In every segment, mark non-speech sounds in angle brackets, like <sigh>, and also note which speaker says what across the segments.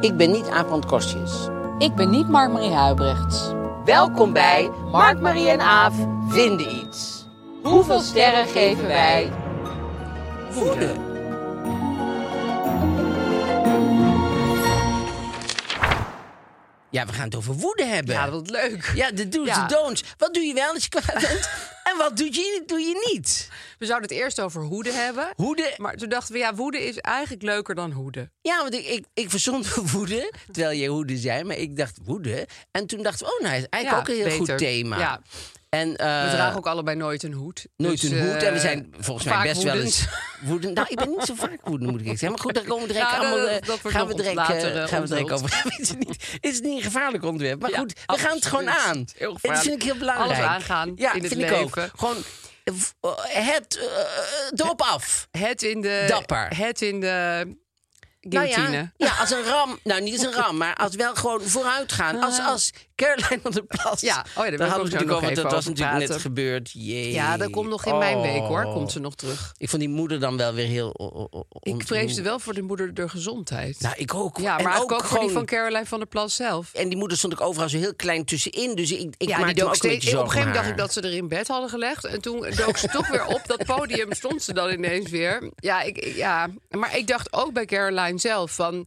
Speaker 1: Ik ben niet Aap van Kostjes.
Speaker 2: Ik ben niet Mark-Marie Huibrechts.
Speaker 1: Welkom bij Mark, Marie en Aaf vinden iets. Hoeveel sterren geven wij? Woede. Ja, we gaan het over woede hebben.
Speaker 3: Ja, wat leuk.
Speaker 1: Ja, de do's,
Speaker 3: Ja.
Speaker 1: de don'ts. Wat doe je wel als je kwaad <laughs> bent? en wat doe je, doe je niet?
Speaker 3: We zouden het eerst over hoeden hebben.
Speaker 1: Woede.
Speaker 3: Maar toen dachten we, ja, woede is eigenlijk leuker dan hoeden.
Speaker 1: Ja, want ik, ik, ik verzond woede, terwijl je hoede zei, maar ik dacht woede. En toen dachten we, oh, nou, is eigenlijk
Speaker 3: Ja,
Speaker 1: ook een heel goed
Speaker 3: beter.
Speaker 1: thema.
Speaker 3: Ja.
Speaker 1: En,
Speaker 3: We
Speaker 1: eh,
Speaker 3: dragen ook allebei nooit een hoed.
Speaker 1: Nooit
Speaker 3: Dus,
Speaker 1: een hoed. En we
Speaker 3: eh,
Speaker 1: zijn volgens mij
Speaker 3: vaak
Speaker 1: best wel eens
Speaker 3: woedend.
Speaker 1: <laughs> woedend. Nou, ik ben niet zo vaak woedend, moet ik zeggen. Maar goed, daar komen we direct
Speaker 3: Nou, dat-
Speaker 1: allemaal... eh,
Speaker 3: dat wordt
Speaker 1: gaan we
Speaker 3: nog
Speaker 1: direct,
Speaker 3: later,
Speaker 1: eh,
Speaker 3: eh,
Speaker 1: gaan we direct
Speaker 3: onthuld.
Speaker 1: over. het, <laughs> is niet, het is niet een gevaarlijk onderwerp. Maar
Speaker 3: Ja,
Speaker 1: goed, we gaan het gewoon
Speaker 3: absoluut.
Speaker 1: aan.
Speaker 3: Heel
Speaker 1: dat
Speaker 3: gevaarlijk.
Speaker 1: vind ik heel belangrijk.
Speaker 3: Alles aangaan
Speaker 1: ja,
Speaker 3: in het
Speaker 1: vind ik ook.
Speaker 3: leven.
Speaker 1: Gewoon eh, v- eh, het eh, erop af.
Speaker 3: Het in de...
Speaker 1: Dapper.
Speaker 3: Het in de
Speaker 1: Nou
Speaker 3: guillotine.
Speaker 1: ja, ja, als een ram. Nou, niet als een ram, maar als wel gewoon vooruit gaan. Als, als Caroline op de plas.
Speaker 3: Ah. Ja, oh ja, daar wil ik
Speaker 1: daar hadden
Speaker 3: ook
Speaker 1: we
Speaker 3: zo
Speaker 1: natuurlijk
Speaker 3: nog
Speaker 1: over.
Speaker 3: even
Speaker 1: Dat was
Speaker 3: over
Speaker 1: natuurlijk net
Speaker 3: praten.
Speaker 1: gebeurd. Jee.
Speaker 3: Ja, dat komt nog in mijn week, hoor. Komt ze
Speaker 1: Oh.
Speaker 3: nog terug.
Speaker 1: Ik vond die moeder dan wel weer heel. o- o- o-
Speaker 3: Ik vreesde
Speaker 1: ontroerd.
Speaker 3: wel voor de moeder de gezondheid.
Speaker 1: Nou, ik ook.
Speaker 3: ja,
Speaker 1: En
Speaker 3: maar eigenlijk ook, voor die
Speaker 1: gewoon-
Speaker 3: van Caroline van der Plas zelf.
Speaker 1: En die moeder stond ik overal zo heel klein tussenin. Dus ik, ik maakte me
Speaker 3: ja, die
Speaker 1: ook
Speaker 3: dook
Speaker 1: een beetje
Speaker 3: steeds. Op een
Speaker 1: zorgen
Speaker 3: gegeven moment
Speaker 1: om
Speaker 3: dacht ik
Speaker 1: haar.
Speaker 3: dat ze er in bed hadden gelegd. En toen dook ze toch weer op dat podium. Stond ze dan ineens weer. Ja, ik, ik- ja, maar ik dacht ook bij Caroline zelf van...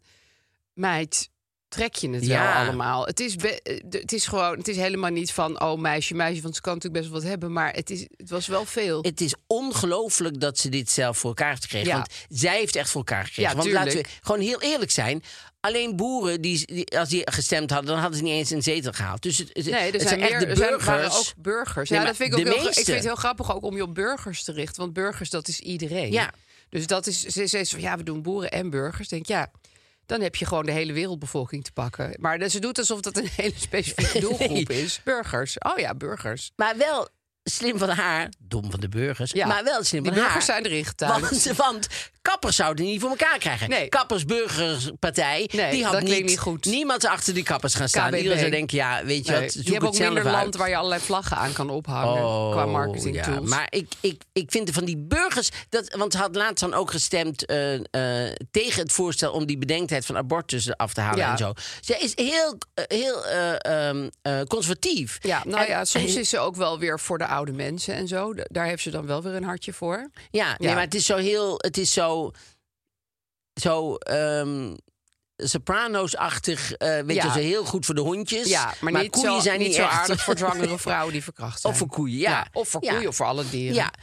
Speaker 3: Meid, trek je het
Speaker 1: Ja.
Speaker 3: wel allemaal? Het is, be- eh, de- het is gewoon... Het is helemaal niet van... Oh, meisje, meisje. Want ze kan natuurlijk best wel wat hebben. Maar het, is, het was wel veel.
Speaker 1: Het is ongelooflijk dat ze dit zelf voor elkaar heeft gekregen.
Speaker 3: Ja.
Speaker 1: Want zij heeft echt voor elkaar gekregen.
Speaker 3: Ja,
Speaker 1: Want laten we
Speaker 3: tuurlijk.
Speaker 1: gewoon heel eerlijk zijn. Alleen boeren, die, die- als die gestemd hadden, dan hadden ze niet eens een zetel gehaald. Dus het, het,
Speaker 3: Nee, er
Speaker 1: het
Speaker 3: zijn,
Speaker 1: echt
Speaker 3: meer,
Speaker 1: de
Speaker 3: er zijn-
Speaker 1: burgers.
Speaker 3: waren ook burgers.
Speaker 1: Nee,
Speaker 3: ja,
Speaker 1: maar
Speaker 3: dat vind ik ook
Speaker 1: de
Speaker 3: heel, gra- ik
Speaker 1: meeste.
Speaker 3: vind het heel grappig ook om je op burgers te richten. Want burgers, dat is iedereen.
Speaker 1: Ja.
Speaker 3: Dus dat is, ze ze is van, ja, we doen boeren en burgers. Ik Denk, ja, dan heb je gewoon de hele wereldbevolking te pakken. Maar ze doet alsof dat een hele
Speaker 1: <laughs>
Speaker 3: specifieke doelgroep is. Burgers. Oh ja, burgers.
Speaker 1: Maar wel slim van haar. Dom van de burgers.
Speaker 3: Ja.
Speaker 1: Maar wel slim van
Speaker 3: Die
Speaker 1: haar.
Speaker 3: burgers zijn erin getuigd.
Speaker 1: Want, want kappers zouden niet voor elkaar krijgen.
Speaker 3: Nee.
Speaker 1: Kappersburgerspartij.
Speaker 3: Nee,
Speaker 1: die had
Speaker 3: dat
Speaker 1: niet,
Speaker 3: klinkt niet goed.
Speaker 1: Niemand achter die kappers gaan staan.
Speaker 3: KBB.
Speaker 1: Iedereen zou denken, ja, weet je
Speaker 3: Nee,
Speaker 1: wat, zoek
Speaker 3: je hebt
Speaker 1: het
Speaker 3: ook
Speaker 1: zelf
Speaker 3: minder
Speaker 1: uit.
Speaker 3: land waar je allerlei vlaggen aan kan ophangen. qua marketing
Speaker 1: Oh, ja.
Speaker 3: tools.
Speaker 1: Maar ik, ik, ik vind van die burgers... Dat, want ze had laatst dan ook gestemd eh, eh, tegen het voorstel... om die bedenktijd van abortus af te halen
Speaker 3: Ja.
Speaker 1: en zo. Zij is heel, eh, heel eh, ehm, eh, conservatief.
Speaker 3: ja, nou
Speaker 1: En-
Speaker 3: ja, soms
Speaker 1: en-
Speaker 3: is ze ook wel weer voor de oude mensen en zo. Da- Daar heeft ze dan wel weer een hartje voor.
Speaker 1: Ja, Nee,
Speaker 3: Ja.
Speaker 1: maar het is zo heel... Het is zo... Zo... ehm, Soprano's-achtig, eh, weet
Speaker 3: Ja.
Speaker 1: je, ze heel goed voor de hondjes.
Speaker 3: Ja, maar, niet,
Speaker 1: koeien
Speaker 3: zo,
Speaker 1: zijn
Speaker 3: niet,
Speaker 1: niet
Speaker 3: zo
Speaker 1: echt.
Speaker 3: aardig voor
Speaker 1: <laughs>
Speaker 3: zwangere vrouwen die verkracht zijn.
Speaker 1: Of voor koeien, ja.
Speaker 3: Of voor
Speaker 1: Ja.
Speaker 3: koeien, of voor alle dieren.
Speaker 1: Ja.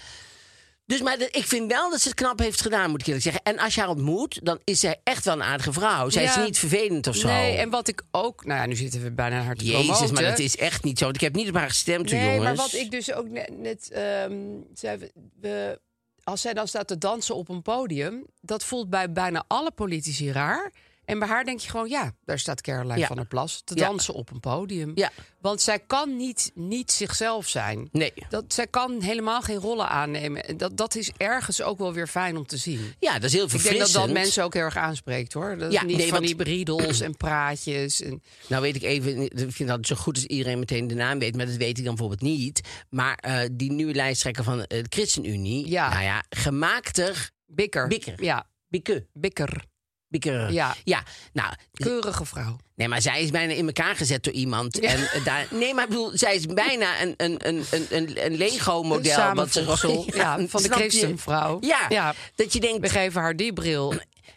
Speaker 1: Dus maar dat- ik vind wel dat ze het knap heeft gedaan, moet ik eerlijk zeggen. En als je haar ontmoet, dan is zij echt wel een aardige vrouw. Zij
Speaker 3: Ja.
Speaker 1: is niet vervelend of zo.
Speaker 3: Nee, en wat ik ook... Nou ja, nu zitten we bijna hard te
Speaker 1: Jezus,
Speaker 3: promoten.
Speaker 1: maar dat is echt niet zo. Want ik heb niet op haar gestemd,
Speaker 3: Nee,
Speaker 1: hoor, jongens.
Speaker 3: maar wat ik dus ook net, net ehm, zei, we- we- als zij dan staat te dansen op een podium, dat voelt bij bijna alle politici raar. En bij haar denk je gewoon, ja, daar staat Caroline
Speaker 1: Ja.
Speaker 3: van der Plas te
Speaker 1: Ja.
Speaker 3: dansen op een podium.
Speaker 1: Ja.
Speaker 3: Want zij kan niet, niet zichzelf zijn.
Speaker 1: Nee.
Speaker 3: Dat, zij kan helemaal geen rollen aannemen. En dat, dat is ergens ook wel weer fijn om te zien.
Speaker 1: Ja, dat is heel
Speaker 3: Ik denk
Speaker 1: verfrissend.
Speaker 3: dat dat mensen ook heel erg aanspreekt, hoor. Dat
Speaker 1: Ja,
Speaker 3: is niet
Speaker 1: nee,
Speaker 3: van
Speaker 1: want-
Speaker 3: die beriedels en praatjes.
Speaker 1: <clears throat>
Speaker 3: En...
Speaker 1: Nou weet ik even, ik vind dat zo goed als iedereen meteen de naam weet, maar dat weet ik dan bijvoorbeeld niet. Maar eh, die nieuwe lijsttrekker van eh, de ChristenUnie,
Speaker 3: Ja.
Speaker 1: nou ja, gemaakter
Speaker 3: Bikker.
Speaker 1: Bikker.
Speaker 3: Ja,
Speaker 1: Bikke.
Speaker 3: bikker.
Speaker 1: Bieker.
Speaker 3: Ja.
Speaker 1: ja, nou,
Speaker 3: Keurige vrouw.
Speaker 1: nee, maar zij is bijna in elkaar gezet door iemand. En eh, daar, nee, maar ik bedoel, zij is bijna een, een, een, een- een, een Lego-model. wat ze-
Speaker 3: Samenvoegsel,
Speaker 1: <laughs>
Speaker 3: ja, van de
Speaker 1: snap je?
Speaker 3: christenvrouw.
Speaker 1: Ja,
Speaker 3: Ja.
Speaker 1: dat je denkt,
Speaker 3: We geven haar die bril.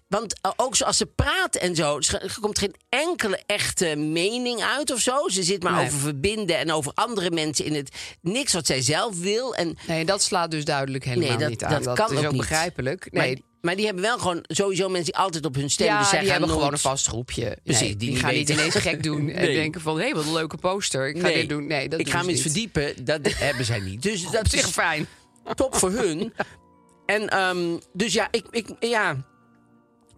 Speaker 1: Want eh, ook zoals ze praat en zo, ze- er komt geen enkele echte mening uit of zo. Ze zit maar
Speaker 3: Nee.
Speaker 1: over verbinden en over andere mensen in het. Niks wat zij zelf wil. En,
Speaker 3: Nee, dat slaat dus duidelijk helemaal
Speaker 1: Nee, dat-
Speaker 3: niet aan.
Speaker 1: dat kan
Speaker 3: is
Speaker 1: ook
Speaker 3: ook
Speaker 1: niet.
Speaker 3: begrijpelijk. Nee,
Speaker 1: maar, maar die hebben wel gewoon sowieso mensen die altijd op hun stem.
Speaker 3: ja,
Speaker 1: dus zij
Speaker 3: die
Speaker 1: gaan
Speaker 3: hebben
Speaker 1: nooit-
Speaker 3: gewoon een vast groepje.
Speaker 1: Precies,
Speaker 3: Nee,
Speaker 1: die
Speaker 3: die,
Speaker 1: niet
Speaker 3: gaan niet
Speaker 1: weten.
Speaker 3: ineens gek
Speaker 1: <laughs>
Speaker 3: doen en
Speaker 1: Nee.
Speaker 3: denken van... hé, hey, wat een leuke poster, ik ga
Speaker 1: Nee,
Speaker 3: dit doen. Nee, dat
Speaker 1: ik ga
Speaker 3: doen
Speaker 1: hem
Speaker 3: ze
Speaker 1: eens
Speaker 3: niet.
Speaker 1: verdiepen. Dat
Speaker 3: <laughs>
Speaker 1: hebben zij niet. Dus dat
Speaker 3: Op zich
Speaker 1: is
Speaker 3: fijn.
Speaker 1: top voor hun. En ehm, dus ja, ik, ik ja.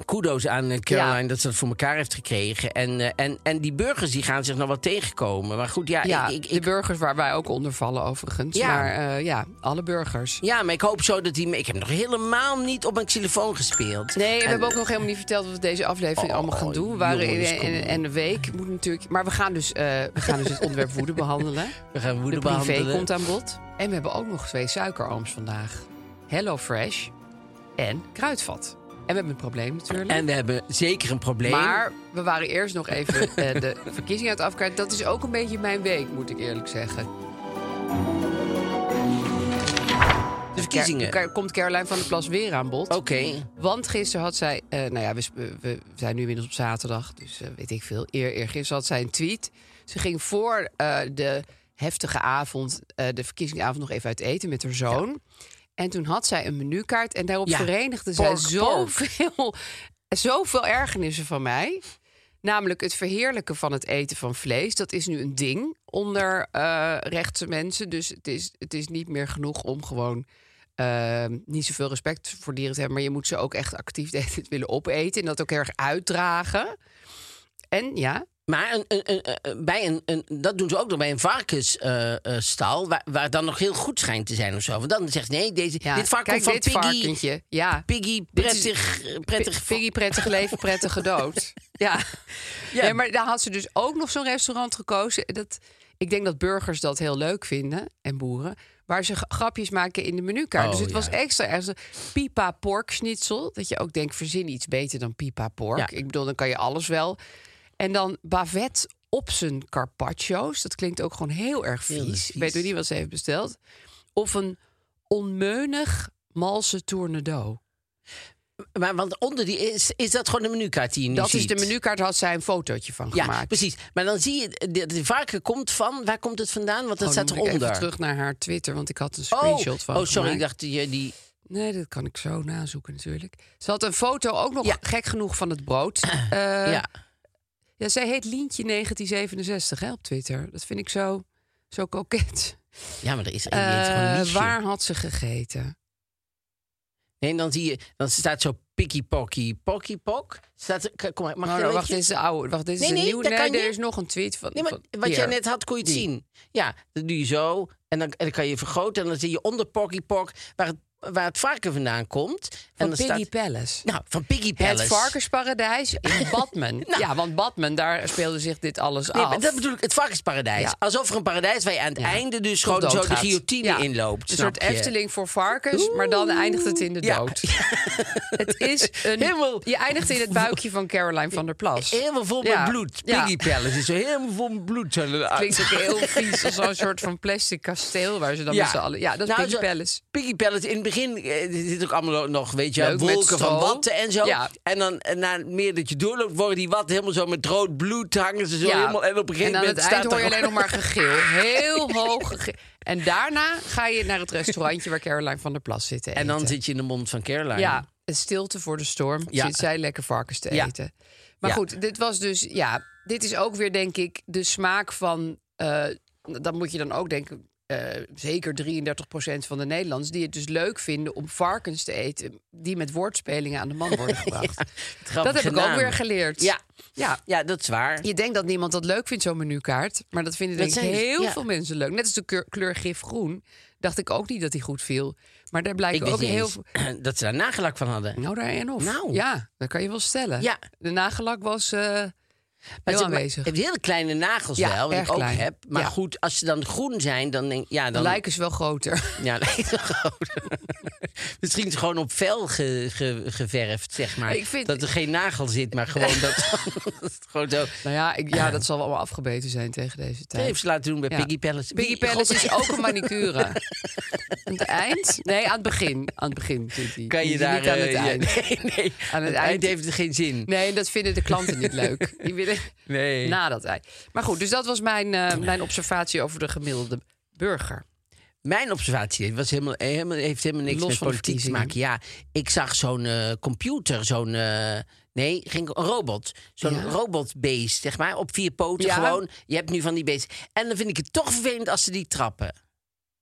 Speaker 1: Kudos aan eh, Caroline dat ze dat voor elkaar heeft gekregen. En, eh, en, en die burgers die gaan zich nog wel tegenkomen. Maar goed, ja,
Speaker 3: Ja,
Speaker 1: ik, ik,
Speaker 3: de burgers waar wij ook onder vallen overigens.
Speaker 1: Ja.
Speaker 3: Maar eh, ja, alle burgers.
Speaker 1: Ja, maar ik hoop zo dat hij... Ik heb nog helemaal niet op mijn telefoon gespeeld.
Speaker 3: Nee, we
Speaker 1: En-
Speaker 3: hebben ook nog helemaal niet verteld wat we deze aflevering
Speaker 1: Oh,
Speaker 3: allemaal gaan doen. We waren
Speaker 1: jongens,
Speaker 3: in,
Speaker 1: kom
Speaker 3: in-
Speaker 1: op.
Speaker 3: en de week moet natuurlijk. Maar we gaan dus, eh, we gaan
Speaker 1: <laughs>
Speaker 3: dus het onderwerp woede behandelen.
Speaker 1: We gaan woede
Speaker 3: de privé
Speaker 1: behandelen.
Speaker 3: komt aan bod. En we hebben ook nog twee suikerooms vandaag: Hello Fresh en kruidvat. En we hebben een probleem natuurlijk.
Speaker 1: En we hebben zeker een probleem.
Speaker 3: maar we waren eerst
Speaker 1: <laughs>
Speaker 3: nog even eh, de verkiezingen aan het afkaarten. Dat is ook een beetje mijn week, moet ik eerlijk zeggen.
Speaker 1: de verkiezingen.
Speaker 3: Ker- ker- komt Caroline van der Plas weer aan bod.
Speaker 1: Oké.
Speaker 3: Want gisteren had zij, eh, nou ja, we, sp- we- we zijn nu inmiddels op zaterdag, dus eh, weet ik veel. Eer, eergisteren had zij een tweet. Ze ging voor eh, de heftige avond, eh, de verkiezingsavond, nog even uit eten met haar zoon. En toen had zij een menukaart en daarop
Speaker 1: Ja,
Speaker 3: verenigde
Speaker 1: pork,
Speaker 3: zij
Speaker 1: pork.
Speaker 3: zoveel, <laughs> zoveel ergernissen van mij. Namelijk het verheerlijken van het eten van vlees. Dat is nu een ding onder eh, rechtse mensen. Dus het is, het is niet meer genoeg om gewoon eh, niet zoveel respect voor dieren te hebben. Maar je moet ze ook echt actief <laughs> de hele tijd willen opeten. En dat ook heel erg uitdragen. En ja,
Speaker 1: Maar een, een, een- een- bij een, een, dat doen ze ook nog bij een varkensstal... waar, waar het dan nog heel goed schijnt te zijn of zo. Want dan zegt ze, nee, deze,
Speaker 3: ja.
Speaker 1: dit varken
Speaker 3: kijk
Speaker 1: van
Speaker 3: dit
Speaker 1: Piggy...
Speaker 3: varkentje. Ja.
Speaker 1: Piggy,
Speaker 3: Dit is-
Speaker 1: prettig... eh, prettig
Speaker 3: Pi- Piggy prettig leven, prettige dood. <laughs> Ja. ja. Nee, maar daar had ze dus ook nog zo'n restaurant gekozen. Dat, ik denk dat burgers dat heel leuk vinden en boeren. Waar ze g- grapjes maken in de menukaart.
Speaker 1: Oh,
Speaker 3: dus het was
Speaker 1: ja.
Speaker 3: extra erg. Pipa pork schnitzel. Dat je ook denkt, verzin iets beter dan pipa pork.
Speaker 1: Ja.
Speaker 3: Ik bedoel, dan kan je alles wel. En dan bavet op zijn carpaccio's. Dat klinkt ook gewoon heel erg vies.
Speaker 1: Heel erg
Speaker 3: Ik weet
Speaker 1: vies.
Speaker 3: ook niet wat ze heeft besteld. Of een onmeunig malse tournedo.
Speaker 1: Maar want onder die... Is, is dat gewoon de menukaart die je nu
Speaker 3: Dat
Speaker 1: ziet?
Speaker 3: is de menukaart, had zij een fotootje van
Speaker 1: Ja,
Speaker 3: gemaakt.
Speaker 1: precies. Maar dan zie je, eh, de, de varken komt van... Waar komt het vandaan? Want dat
Speaker 3: Oh, dan
Speaker 1: staat
Speaker 3: moet ik
Speaker 1: eronder.
Speaker 3: Even terug naar haar Twitter, want ik had een
Speaker 1: Oh,
Speaker 3: screenshot van.
Speaker 1: oh, sorry, ik
Speaker 3: gemaakt.
Speaker 1: dacht je die...
Speaker 3: Nee, dat kan ik zo nazoeken natuurlijk. Ze had een foto ook nog
Speaker 1: Ja.
Speaker 3: gek genoeg van het
Speaker 1: <clears throat>
Speaker 3: brood. Eh,
Speaker 1: ja.
Speaker 3: ja. zij heet Lientje 1967 hè, op Twitter. Dat vind ik zo, zo koket.
Speaker 1: ja, maar er is er die heet
Speaker 3: Eh,
Speaker 1: gewoon Liesje.
Speaker 3: waar had ze gegeten?
Speaker 1: Nee, en dan zie je, dan staat zo pikkie pokkie pokkie pok. Staat, er- k- kom maar, mag
Speaker 3: Oh,
Speaker 1: je
Speaker 3: nou,
Speaker 1: een
Speaker 3: wacht,
Speaker 1: beetje-
Speaker 3: dit is de oude. Wacht, dit is
Speaker 1: Nee,
Speaker 3: een
Speaker 1: nee,
Speaker 3: nieuwe.
Speaker 1: daar
Speaker 3: Nee,
Speaker 1: kan
Speaker 3: er
Speaker 1: je-
Speaker 3: is nog een tweet van.
Speaker 1: Nee, maar
Speaker 3: van
Speaker 1: wat jij
Speaker 3: hier.
Speaker 1: net had, kon je het
Speaker 3: Die.
Speaker 1: zien. Ja, dat doe je zo. En dan, en dan kan je vergroten. En dan zie je onder pokkie pok waar het, waar het varken vandaan komt.
Speaker 3: Van
Speaker 1: en dan
Speaker 3: Piggy
Speaker 1: staat,
Speaker 3: Palace.
Speaker 1: Nou, van Piggy Palace.
Speaker 3: Het varkensparadijs
Speaker 1: <laughs>
Speaker 3: in Batman. Ja, want Batman, daar speelde zich dit alles
Speaker 1: Nou. Nee,
Speaker 3: af.
Speaker 1: maar dat bedoel ik, het varkensparadijs.
Speaker 3: Ja.
Speaker 1: Alsof er een paradijs waar je aan het einde dus
Speaker 3: Tot
Speaker 1: gewoon zo de
Speaker 3: doodgaat.
Speaker 1: guillotine
Speaker 3: Ja.
Speaker 1: inloopt.
Speaker 3: Een
Speaker 1: snap
Speaker 3: soort
Speaker 1: je?
Speaker 3: Efteling voor varkens, maar dan eindigt het in de
Speaker 1: Ja. <laughs>
Speaker 3: dood. Het is een,
Speaker 1: Helemaal-
Speaker 3: Je eindigt in het buikje van Caroline van der Plas.
Speaker 1: Helemaal vol
Speaker 3: Ja.
Speaker 1: met bloed.
Speaker 3: Ja.
Speaker 1: Piggy Palace is zo helemaal vol met bloed. Zo eh,
Speaker 3: Klinkt
Speaker 1: <laughs>
Speaker 3: ook heel vies als zo'n soort van plastic kasteel waar ze dan met z'n allen. Ja, dat is
Speaker 1: Nou,
Speaker 3: Piggy
Speaker 1: zo-
Speaker 3: Palace.
Speaker 1: Piggy Palace, in het begin eh, er zit ook allemaal nog, weet je,
Speaker 3: Leuk, met
Speaker 1: wolken van
Speaker 3: stro.
Speaker 1: watten en zo.
Speaker 3: Ja.
Speaker 1: En dan eh, na meer dat je doorloopt, worden die watten helemaal zo met rood bloed hangen ze zo
Speaker 3: Ja.
Speaker 1: helemaal. En op een gegeven
Speaker 3: en aan
Speaker 1: moment
Speaker 3: het
Speaker 1: staat
Speaker 3: eind hoor je
Speaker 1: er
Speaker 3: alleen nog maar gegil. Heel hoog gegil. En daarna ga
Speaker 1: <laughs>
Speaker 3: je naar het restaurantje waar Caroline van der Plas zit te
Speaker 1: En
Speaker 3: eten.
Speaker 1: dan zit je in de mond van Caroline.
Speaker 3: Ja, een stilte voor de storm.
Speaker 1: Ja.
Speaker 3: Zit zij lekker varkens te
Speaker 1: Ja.
Speaker 3: eten. Maar
Speaker 1: Ja.
Speaker 3: goed, dit was dus, ja, dit is ook weer denk ik de smaak van. eh, dat moet je dan ook denken. eh, zeker 33% van de Nederlanders die het dus leuk vinden om varkens te eten, die met woordspelingen aan de man
Speaker 1: <laughs>
Speaker 3: worden gebracht. dat heb
Speaker 1: grappige
Speaker 3: ik ook
Speaker 1: naam.
Speaker 3: weer geleerd.
Speaker 1: Ja.
Speaker 3: ja.
Speaker 1: ja, dat is waar.
Speaker 3: Je denkt dat niemand dat leuk vindt, zo'n menukaart. Maar dat vinden
Speaker 1: Dat
Speaker 3: denk ik
Speaker 1: zijn-
Speaker 3: heel
Speaker 1: ja.
Speaker 3: veel mensen leuk. Net als de keur- kleur gif groen. Dacht ik ook niet dat die goed viel. Maar daar blijken ook
Speaker 1: niet
Speaker 3: heel
Speaker 1: eens <clears throat>
Speaker 3: veel.
Speaker 1: dat ze daar nagelak van hadden.
Speaker 3: Nou, daar en of.
Speaker 1: Nou.
Speaker 3: Ja, dat kan je wel stellen.
Speaker 1: Ja.
Speaker 3: De nagelak was eh, Heel
Speaker 1: ze- maar-
Speaker 3: aanwezig.
Speaker 1: het heeft hele kleine nagels
Speaker 3: Ja,
Speaker 1: wel, wat
Speaker 3: erg
Speaker 1: ik ook
Speaker 3: klein.
Speaker 1: heb. Maar
Speaker 3: Ja.
Speaker 1: goed, als ze dan groen zijn, dan denk ja, dan
Speaker 3: Dan lijken ze wel groter. <laughs>
Speaker 1: ja, <laughs> lijkt wel groot. <laughs> Misschien is het gewoon op vel ge- ge- geverfd, zeg maar.
Speaker 3: Ik vind-
Speaker 1: Dat er geen nagel zit, maar
Speaker 3: <laughs>
Speaker 1: gewoon dat, <laughs> dat het gewoon zo.
Speaker 3: nou ja, ik, ja, dat zal wel allemaal afgebeten zijn tegen deze tijd.
Speaker 1: Even laten doen bij
Speaker 3: Ja.
Speaker 1: Piggy Palace.
Speaker 3: Piggy Palace is ook een manicure.
Speaker 1: <laughs>
Speaker 3: aan het eind? Nee, aan het begin. Aan het begin doet hij.
Speaker 1: Kan je
Speaker 3: Niet
Speaker 1: daar...
Speaker 3: aan het
Speaker 1: eh, ja,
Speaker 3: eind.
Speaker 1: <laughs> nee, nee. Aan het, eind
Speaker 3: eind-
Speaker 1: heeft het geen zin.
Speaker 3: Nee, dat vinden de klanten niet leuk. Die willen
Speaker 1: <laughs> Nee.
Speaker 3: na dat ei. Maar goed, dus dat was mijn, eh, mijn observatie over de gemiddelde burger.
Speaker 1: Mijn observatie was helemaal, eh, helemaal, heeft helemaal niks
Speaker 3: Los
Speaker 1: met
Speaker 3: van de
Speaker 1: politiek te maken.
Speaker 3: verkiezingen.
Speaker 1: Ja, ik zag zo'n eh, computer, zo'n... eh, nee, geen, een robot. Zo'n
Speaker 3: Ja.
Speaker 1: robotbeest, zeg maar. Op vier poten
Speaker 3: Ja.
Speaker 1: gewoon. Je hebt nu van die beest. En dan vind ik het toch vervelend als ze die trappen.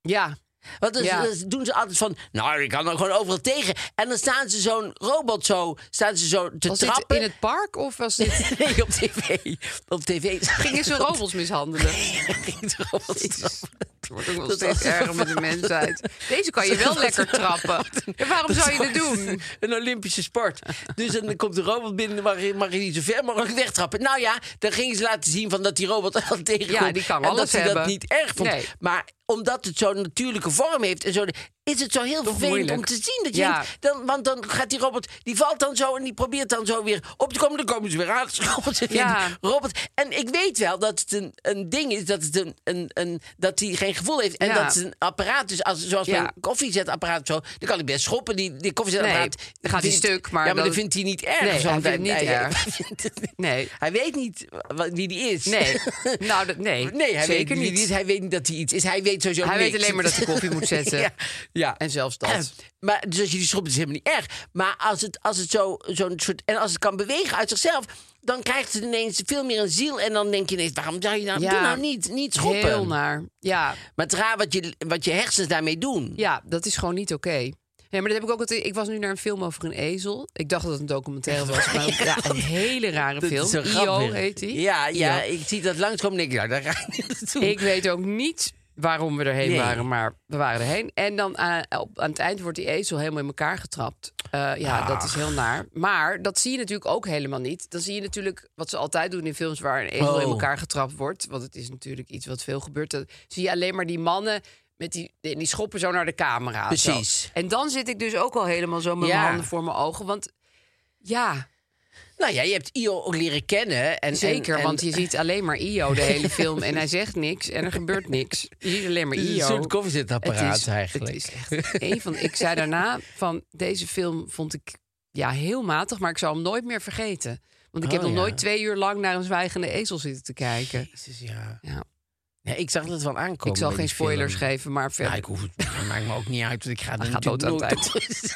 Speaker 3: Ja,
Speaker 1: Want dan
Speaker 3: Ja.
Speaker 1: dan doen ze altijd van... Nou, ik kan er gewoon overal tegen. En dan staan ze zo'n robot zo... Staan ze zo te
Speaker 3: was dit
Speaker 1: trappen.
Speaker 3: in het park of was dit...
Speaker 1: <laughs> Nee, <laughs> op tv. Op tv. <laughs>
Speaker 3: Gingen ze robots mishandelen?
Speaker 1: Ging ze robots trappen.
Speaker 3: Het wordt ook wel
Speaker 1: Dat
Speaker 3: steeds
Speaker 1: was-
Speaker 3: erger met de mensheid.
Speaker 1: <laughs>
Speaker 3: Deze kan je wel lekker trappen. En waarom zou je
Speaker 1: Dat
Speaker 3: dit
Speaker 1: is gewoon
Speaker 3: doen?
Speaker 1: Een Olympische sport. Dus dan komt de robot binnen, dan mag je, mag je niet zo ver mogelijk wegtrappen. Nou ja, dan gingen ze laten zien van dat die robot <laughs> al tegenkomt.
Speaker 3: Ja, die kan
Speaker 1: en dat
Speaker 3: alles
Speaker 1: ze dat
Speaker 3: hebben.
Speaker 1: niet erg vond.
Speaker 3: Nee.
Speaker 1: Maar omdat het zo'n natuurlijke vorm heeft en zo, is het zo heel vervelend om
Speaker 3: moeilijk.
Speaker 1: te zien. Dat je
Speaker 3: Ja.
Speaker 1: denkt, dan, want dan gaat die robot, die valt dan zo en die probeert dan zo weer op te komen. Dan komen ze weer aangeschopt. en <laughs>
Speaker 3: Ja.
Speaker 1: die Robot. En ik weet wel dat het een, een ding is, dat het een, een, een, dat die geen gevoel heeft. En
Speaker 3: Ja.
Speaker 1: dat het een apparaat is, als, zoals
Speaker 3: Ja.
Speaker 1: mijn koffiezetapparaat of zo, dan kan ik best schoppen. Die, die koffiezetapparaat
Speaker 3: Nee, dan gaat die
Speaker 1: vindt-
Speaker 3: stuk, maar
Speaker 1: ja, maar
Speaker 3: dan-
Speaker 1: dan vindt hij niet erg.
Speaker 3: Nee, hij
Speaker 1: zoals
Speaker 3: vindt
Speaker 1: wij-
Speaker 3: het niet
Speaker 1: hij- <laughs>
Speaker 3: erg.
Speaker 1: hij vindt het niet.
Speaker 3: Nee.
Speaker 1: Hij weet niet wa- wie die is. <laughs>
Speaker 3: Nee. Nou, dat- nee.
Speaker 1: Nee, hij
Speaker 3: Zeker
Speaker 1: weet niet.
Speaker 3: niet.
Speaker 1: wie die is. Hij weet niet dat hij iets is. Hij weet sowieso
Speaker 3: Hij
Speaker 1: niks.
Speaker 3: weet alleen maar dat hij koffie
Speaker 1: <laughs>
Speaker 3: moet zetten.
Speaker 1: ja. ja.
Speaker 3: En zelfs dat.
Speaker 1: Maar dus als je die schopt, is het helemaal niet erg. Maar als het, als het zo, zo'n soort. En als het kan bewegen uit zichzelf. dan krijgt het ineens veel meer een ziel. En dan denk je ineens: waarom zou je nou.
Speaker 3: Ja.
Speaker 1: Doe nou niet, niet <clears throat> schoppen.
Speaker 3: Heel naar. Ja,
Speaker 1: Maar het is raar wat je, wat je hersens daarmee doen.
Speaker 3: ja, dat is gewoon niet oké. Ja, maar dat heb ik ook altijd. Ik was nu naar een film over een ezel. Ik dacht dat het een documentaire
Speaker 1: <laughs>
Speaker 3: was, maar ja, een hele rare
Speaker 1: Dat
Speaker 3: film.
Speaker 1: is zo
Speaker 3: Io
Speaker 1: grappig.
Speaker 3: heet die.
Speaker 1: Ja, ja,
Speaker 3: Io.
Speaker 1: ik zie dat langskomen en denk ik, nou, daar ga ik niet naartoe.
Speaker 3: Ik weet ook niet waarom we erheen
Speaker 1: Nee.
Speaker 3: waren, maar we waren erheen. En dan aan, op- aan het eind wordt die ezel helemaal in elkaar getrapt. Eh, ja, dat is heel naar. Maar dat zie je natuurlijk ook helemaal niet. Dan zie je natuurlijk wat ze altijd doen in films waar een ezel
Speaker 1: Oh.
Speaker 3: in elkaar getrapt wordt. Want het is natuurlijk iets wat veel gebeurt. Dan zie je alleen maar die mannen met die, en die schoppen zo naar de camera. zo.
Speaker 1: Precies.
Speaker 3: En dan zit ik dus ook al helemaal zo met
Speaker 1: Ja.
Speaker 3: mijn handen voor mijn ogen. Want ja,
Speaker 1: Nou ja, je hebt Io ook leren kennen. En,
Speaker 3: zeker.
Speaker 1: en- en
Speaker 3: want je ziet alleen maar Io de hele film. En hij zegt niks en er gebeurt niks. Je ziet alleen maar
Speaker 1: het is
Speaker 3: Io.
Speaker 1: een soort koffiezetapparaat
Speaker 3: Het is-
Speaker 1: eigenlijk.
Speaker 3: het is echt één van. Ik zei daarna van deze film vond ik ja heel matig, maar ik zal hem nooit meer vergeten. Want ik heb
Speaker 1: Oh,
Speaker 3: nog
Speaker 1: ja.
Speaker 3: nooit twee uur lang naar een zwijgende ezel zitten te kijken.
Speaker 1: Jezus, ja.
Speaker 3: Ja.
Speaker 1: Ja, ik zag dat wel aankomen.
Speaker 3: Ik zal
Speaker 1: bij
Speaker 3: geen
Speaker 1: die film.
Speaker 3: spoilers geven, maar verder.
Speaker 1: Nou, ik hoef het, dat maakt me ook niet uit, want ik ga er
Speaker 3: Hij gaat
Speaker 1: natuurlijk
Speaker 3: dood aan
Speaker 1: nooit <laughs>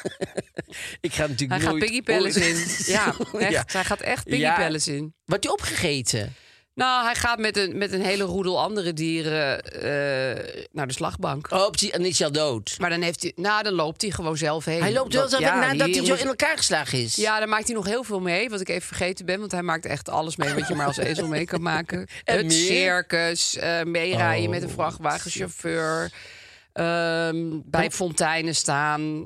Speaker 1: Ik ga natuurlijk
Speaker 3: hij gaat
Speaker 1: nooit
Speaker 3: Piggy Palace
Speaker 1: <laughs>
Speaker 3: in.
Speaker 1: ooit-
Speaker 3: Ja, echt.
Speaker 1: Ja.
Speaker 3: Hij gaat echt Piggy
Speaker 1: Ja.
Speaker 3: Palace in.
Speaker 1: Wordt die opgegeten?
Speaker 3: Nou, hij gaat met een, met een hele roedel andere dieren eh, naar de slagbank.
Speaker 1: Oh, precies, en is hij al dood.
Speaker 3: Maar dan, heeft hij, nou, dan loopt hij gewoon zelf heen.
Speaker 1: Hij loopt wel
Speaker 3: Want-
Speaker 1: zo
Speaker 3: ja,
Speaker 1: nadat
Speaker 3: die
Speaker 1: hij zo
Speaker 3: moet-
Speaker 1: in elkaar geslagen is.
Speaker 3: Ja, daar maakt hij nog heel veel mee. Wat ik even vergeten ben. Want hij maakt echt alles mee wat je maar als ezel mee kan
Speaker 1: <laughs>
Speaker 3: maken.
Speaker 1: En
Speaker 3: het
Speaker 1: meer?
Speaker 3: circus, eh, meerijden
Speaker 1: Oh,
Speaker 3: met een vrachtwagenchauffeur. ehm, bij fonteinen staan.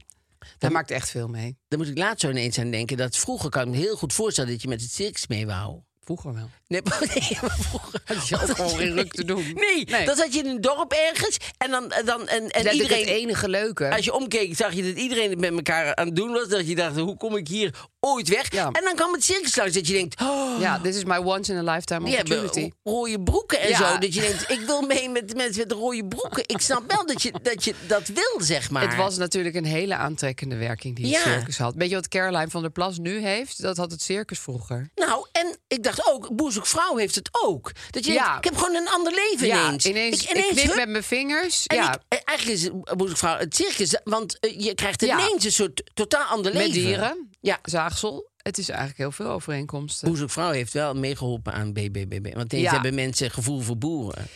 Speaker 3: Hij maakt echt veel mee.
Speaker 1: Dan moet ik laatst zo ineens aan denken dat vroeger kan ik me heel goed voorstellen dat je met het circus mee wou.
Speaker 3: Vroeger wel.
Speaker 1: Nee, <laughs> maar, nee, maar vroeger had
Speaker 3: je ook gewoon geen ruk te doen.
Speaker 1: Nee,
Speaker 3: Nee.
Speaker 1: dan zat je in een dorp ergens en dan en, dan, en, en
Speaker 3: En iedereen... het
Speaker 1: iedereen.
Speaker 3: enige leuke.
Speaker 1: Als je omkeek, zag je dat iedereen het met elkaar aan het doen was. Dat je dacht, hoe kom ik hier ooit weg?
Speaker 3: Ja.
Speaker 1: En dan kwam het circus langs dat je denkt, oh,
Speaker 3: Ja, dit is my once in a lifetime
Speaker 1: die hebben
Speaker 3: opportunity.
Speaker 1: ro- rode broeken en
Speaker 3: Ja.
Speaker 1: zo. Dat je denkt, ik wil mee met de mensen met rode broeken. Ik snap wel dat je dat, je dat wil, zeg maar.
Speaker 3: Het was natuurlijk een hele aantrekkende werking die het
Speaker 1: Ja.
Speaker 3: circus had. Weet je wat Caroline van der Plas nu heeft? Dat had het circus vroeger.
Speaker 1: Nou, en ik dacht ook, Boezek Vrouw heeft het ook. Dat je
Speaker 3: Ja.
Speaker 1: denkt, ik heb gewoon een ander leven ineens.
Speaker 3: Ja, ineens, ik, knip
Speaker 1: hup,
Speaker 3: met mijn vingers.
Speaker 1: En
Speaker 3: ja.
Speaker 1: ik- eh, eigenlijk is het, moet ik vragen, het circus, want eh, je krijgt
Speaker 3: Ja.
Speaker 1: ineens een soort totaal ander leven.
Speaker 3: Met dieren,
Speaker 1: Ja.
Speaker 3: zaagsel. Het is eigenlijk heel veel overeenkomsten.
Speaker 1: Boezek Vrouw heeft wel meegeholpen aan BBBB. Want ineens
Speaker 3: Ja.
Speaker 1: hebben mensen gevoel voor boeren.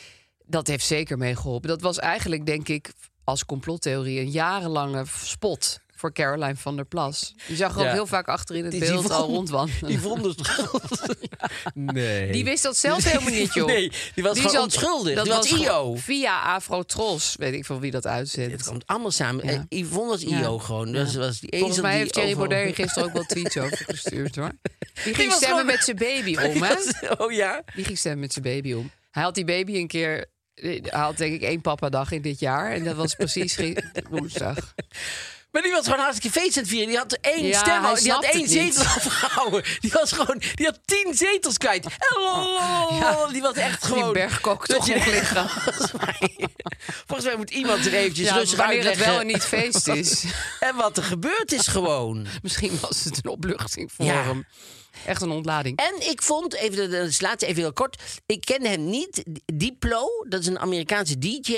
Speaker 3: Dat heeft zeker meegeholpen. Dat was eigenlijk, denk ik, als complottheorie een jarenlange spot voor Caroline van der Plas. Die zag er
Speaker 1: Ja.
Speaker 3: ook heel vaak achterin het
Speaker 1: Die- die
Speaker 3: beeld al
Speaker 1: vond-
Speaker 3: rondwandelen.
Speaker 1: Die vond <laughs> het schuld. Nee.
Speaker 3: Die wist dat zelf helemaal niet, joh.
Speaker 1: Nee, die was gewoon
Speaker 3: zat-
Speaker 1: onschuldig.
Speaker 3: Dat
Speaker 1: Die was
Speaker 3: gewoon
Speaker 1: IO.
Speaker 3: Via Afro Tros, weet ik van wie dat
Speaker 1: Het
Speaker 3: uitzendt.
Speaker 1: komt allemaal samen.
Speaker 3: Ja.
Speaker 1: Eh, Yvonne was IO gewoon. Dat was die
Speaker 3: Volgens
Speaker 1: ezel
Speaker 3: mij
Speaker 1: die
Speaker 3: heeft Thierry
Speaker 1: overal-
Speaker 3: Baudet gisteren ook wel tweets over
Speaker 1: <laughs>
Speaker 3: gestuurd, hoor. Die ging
Speaker 1: was
Speaker 3: stemmen
Speaker 1: gewoon-
Speaker 3: met zijn baby om, hè?
Speaker 1: Oh <laughs> ja?
Speaker 3: Die ging stemmen met zijn baby om. Hij had die baby een keer... eh, Hij had denk ik één papadag in dit jaar. En dat was precies
Speaker 1: <laughs>
Speaker 3: ge- woensdag.
Speaker 1: Maar die was gewoon hartstikke feest aan het vieren. Die had één
Speaker 3: Ja,
Speaker 1: stem,
Speaker 3: hij
Speaker 1: die had
Speaker 3: snapt
Speaker 1: één
Speaker 3: het niet.
Speaker 1: zetel <laughs> afgehouden. Die was gewoon, die had tien zetels kwijt. En lol,
Speaker 3: Ja.
Speaker 1: die was echt
Speaker 3: Die
Speaker 1: gewoon...
Speaker 3: bergkok
Speaker 1: dat
Speaker 3: toch
Speaker 1: je-
Speaker 3: nog liggen.
Speaker 1: <laughs> Volgens mij- Volgens mij moet iemand er eventjes
Speaker 3: Ja,
Speaker 1: Dus rustig
Speaker 3: wanneer het
Speaker 1: uitleggen.
Speaker 3: wel en niet
Speaker 1: <laughs>
Speaker 3: feest is.
Speaker 1: En wat er gebeurd is gewoon.
Speaker 3: Misschien was het een opluchting voor
Speaker 1: Ja.
Speaker 3: hem. Echt een ontlading.
Speaker 1: En ik vond, even de, de laatste even heel kort. Ik kende hem niet. Diplo, dat is een Amerikaanse DJ.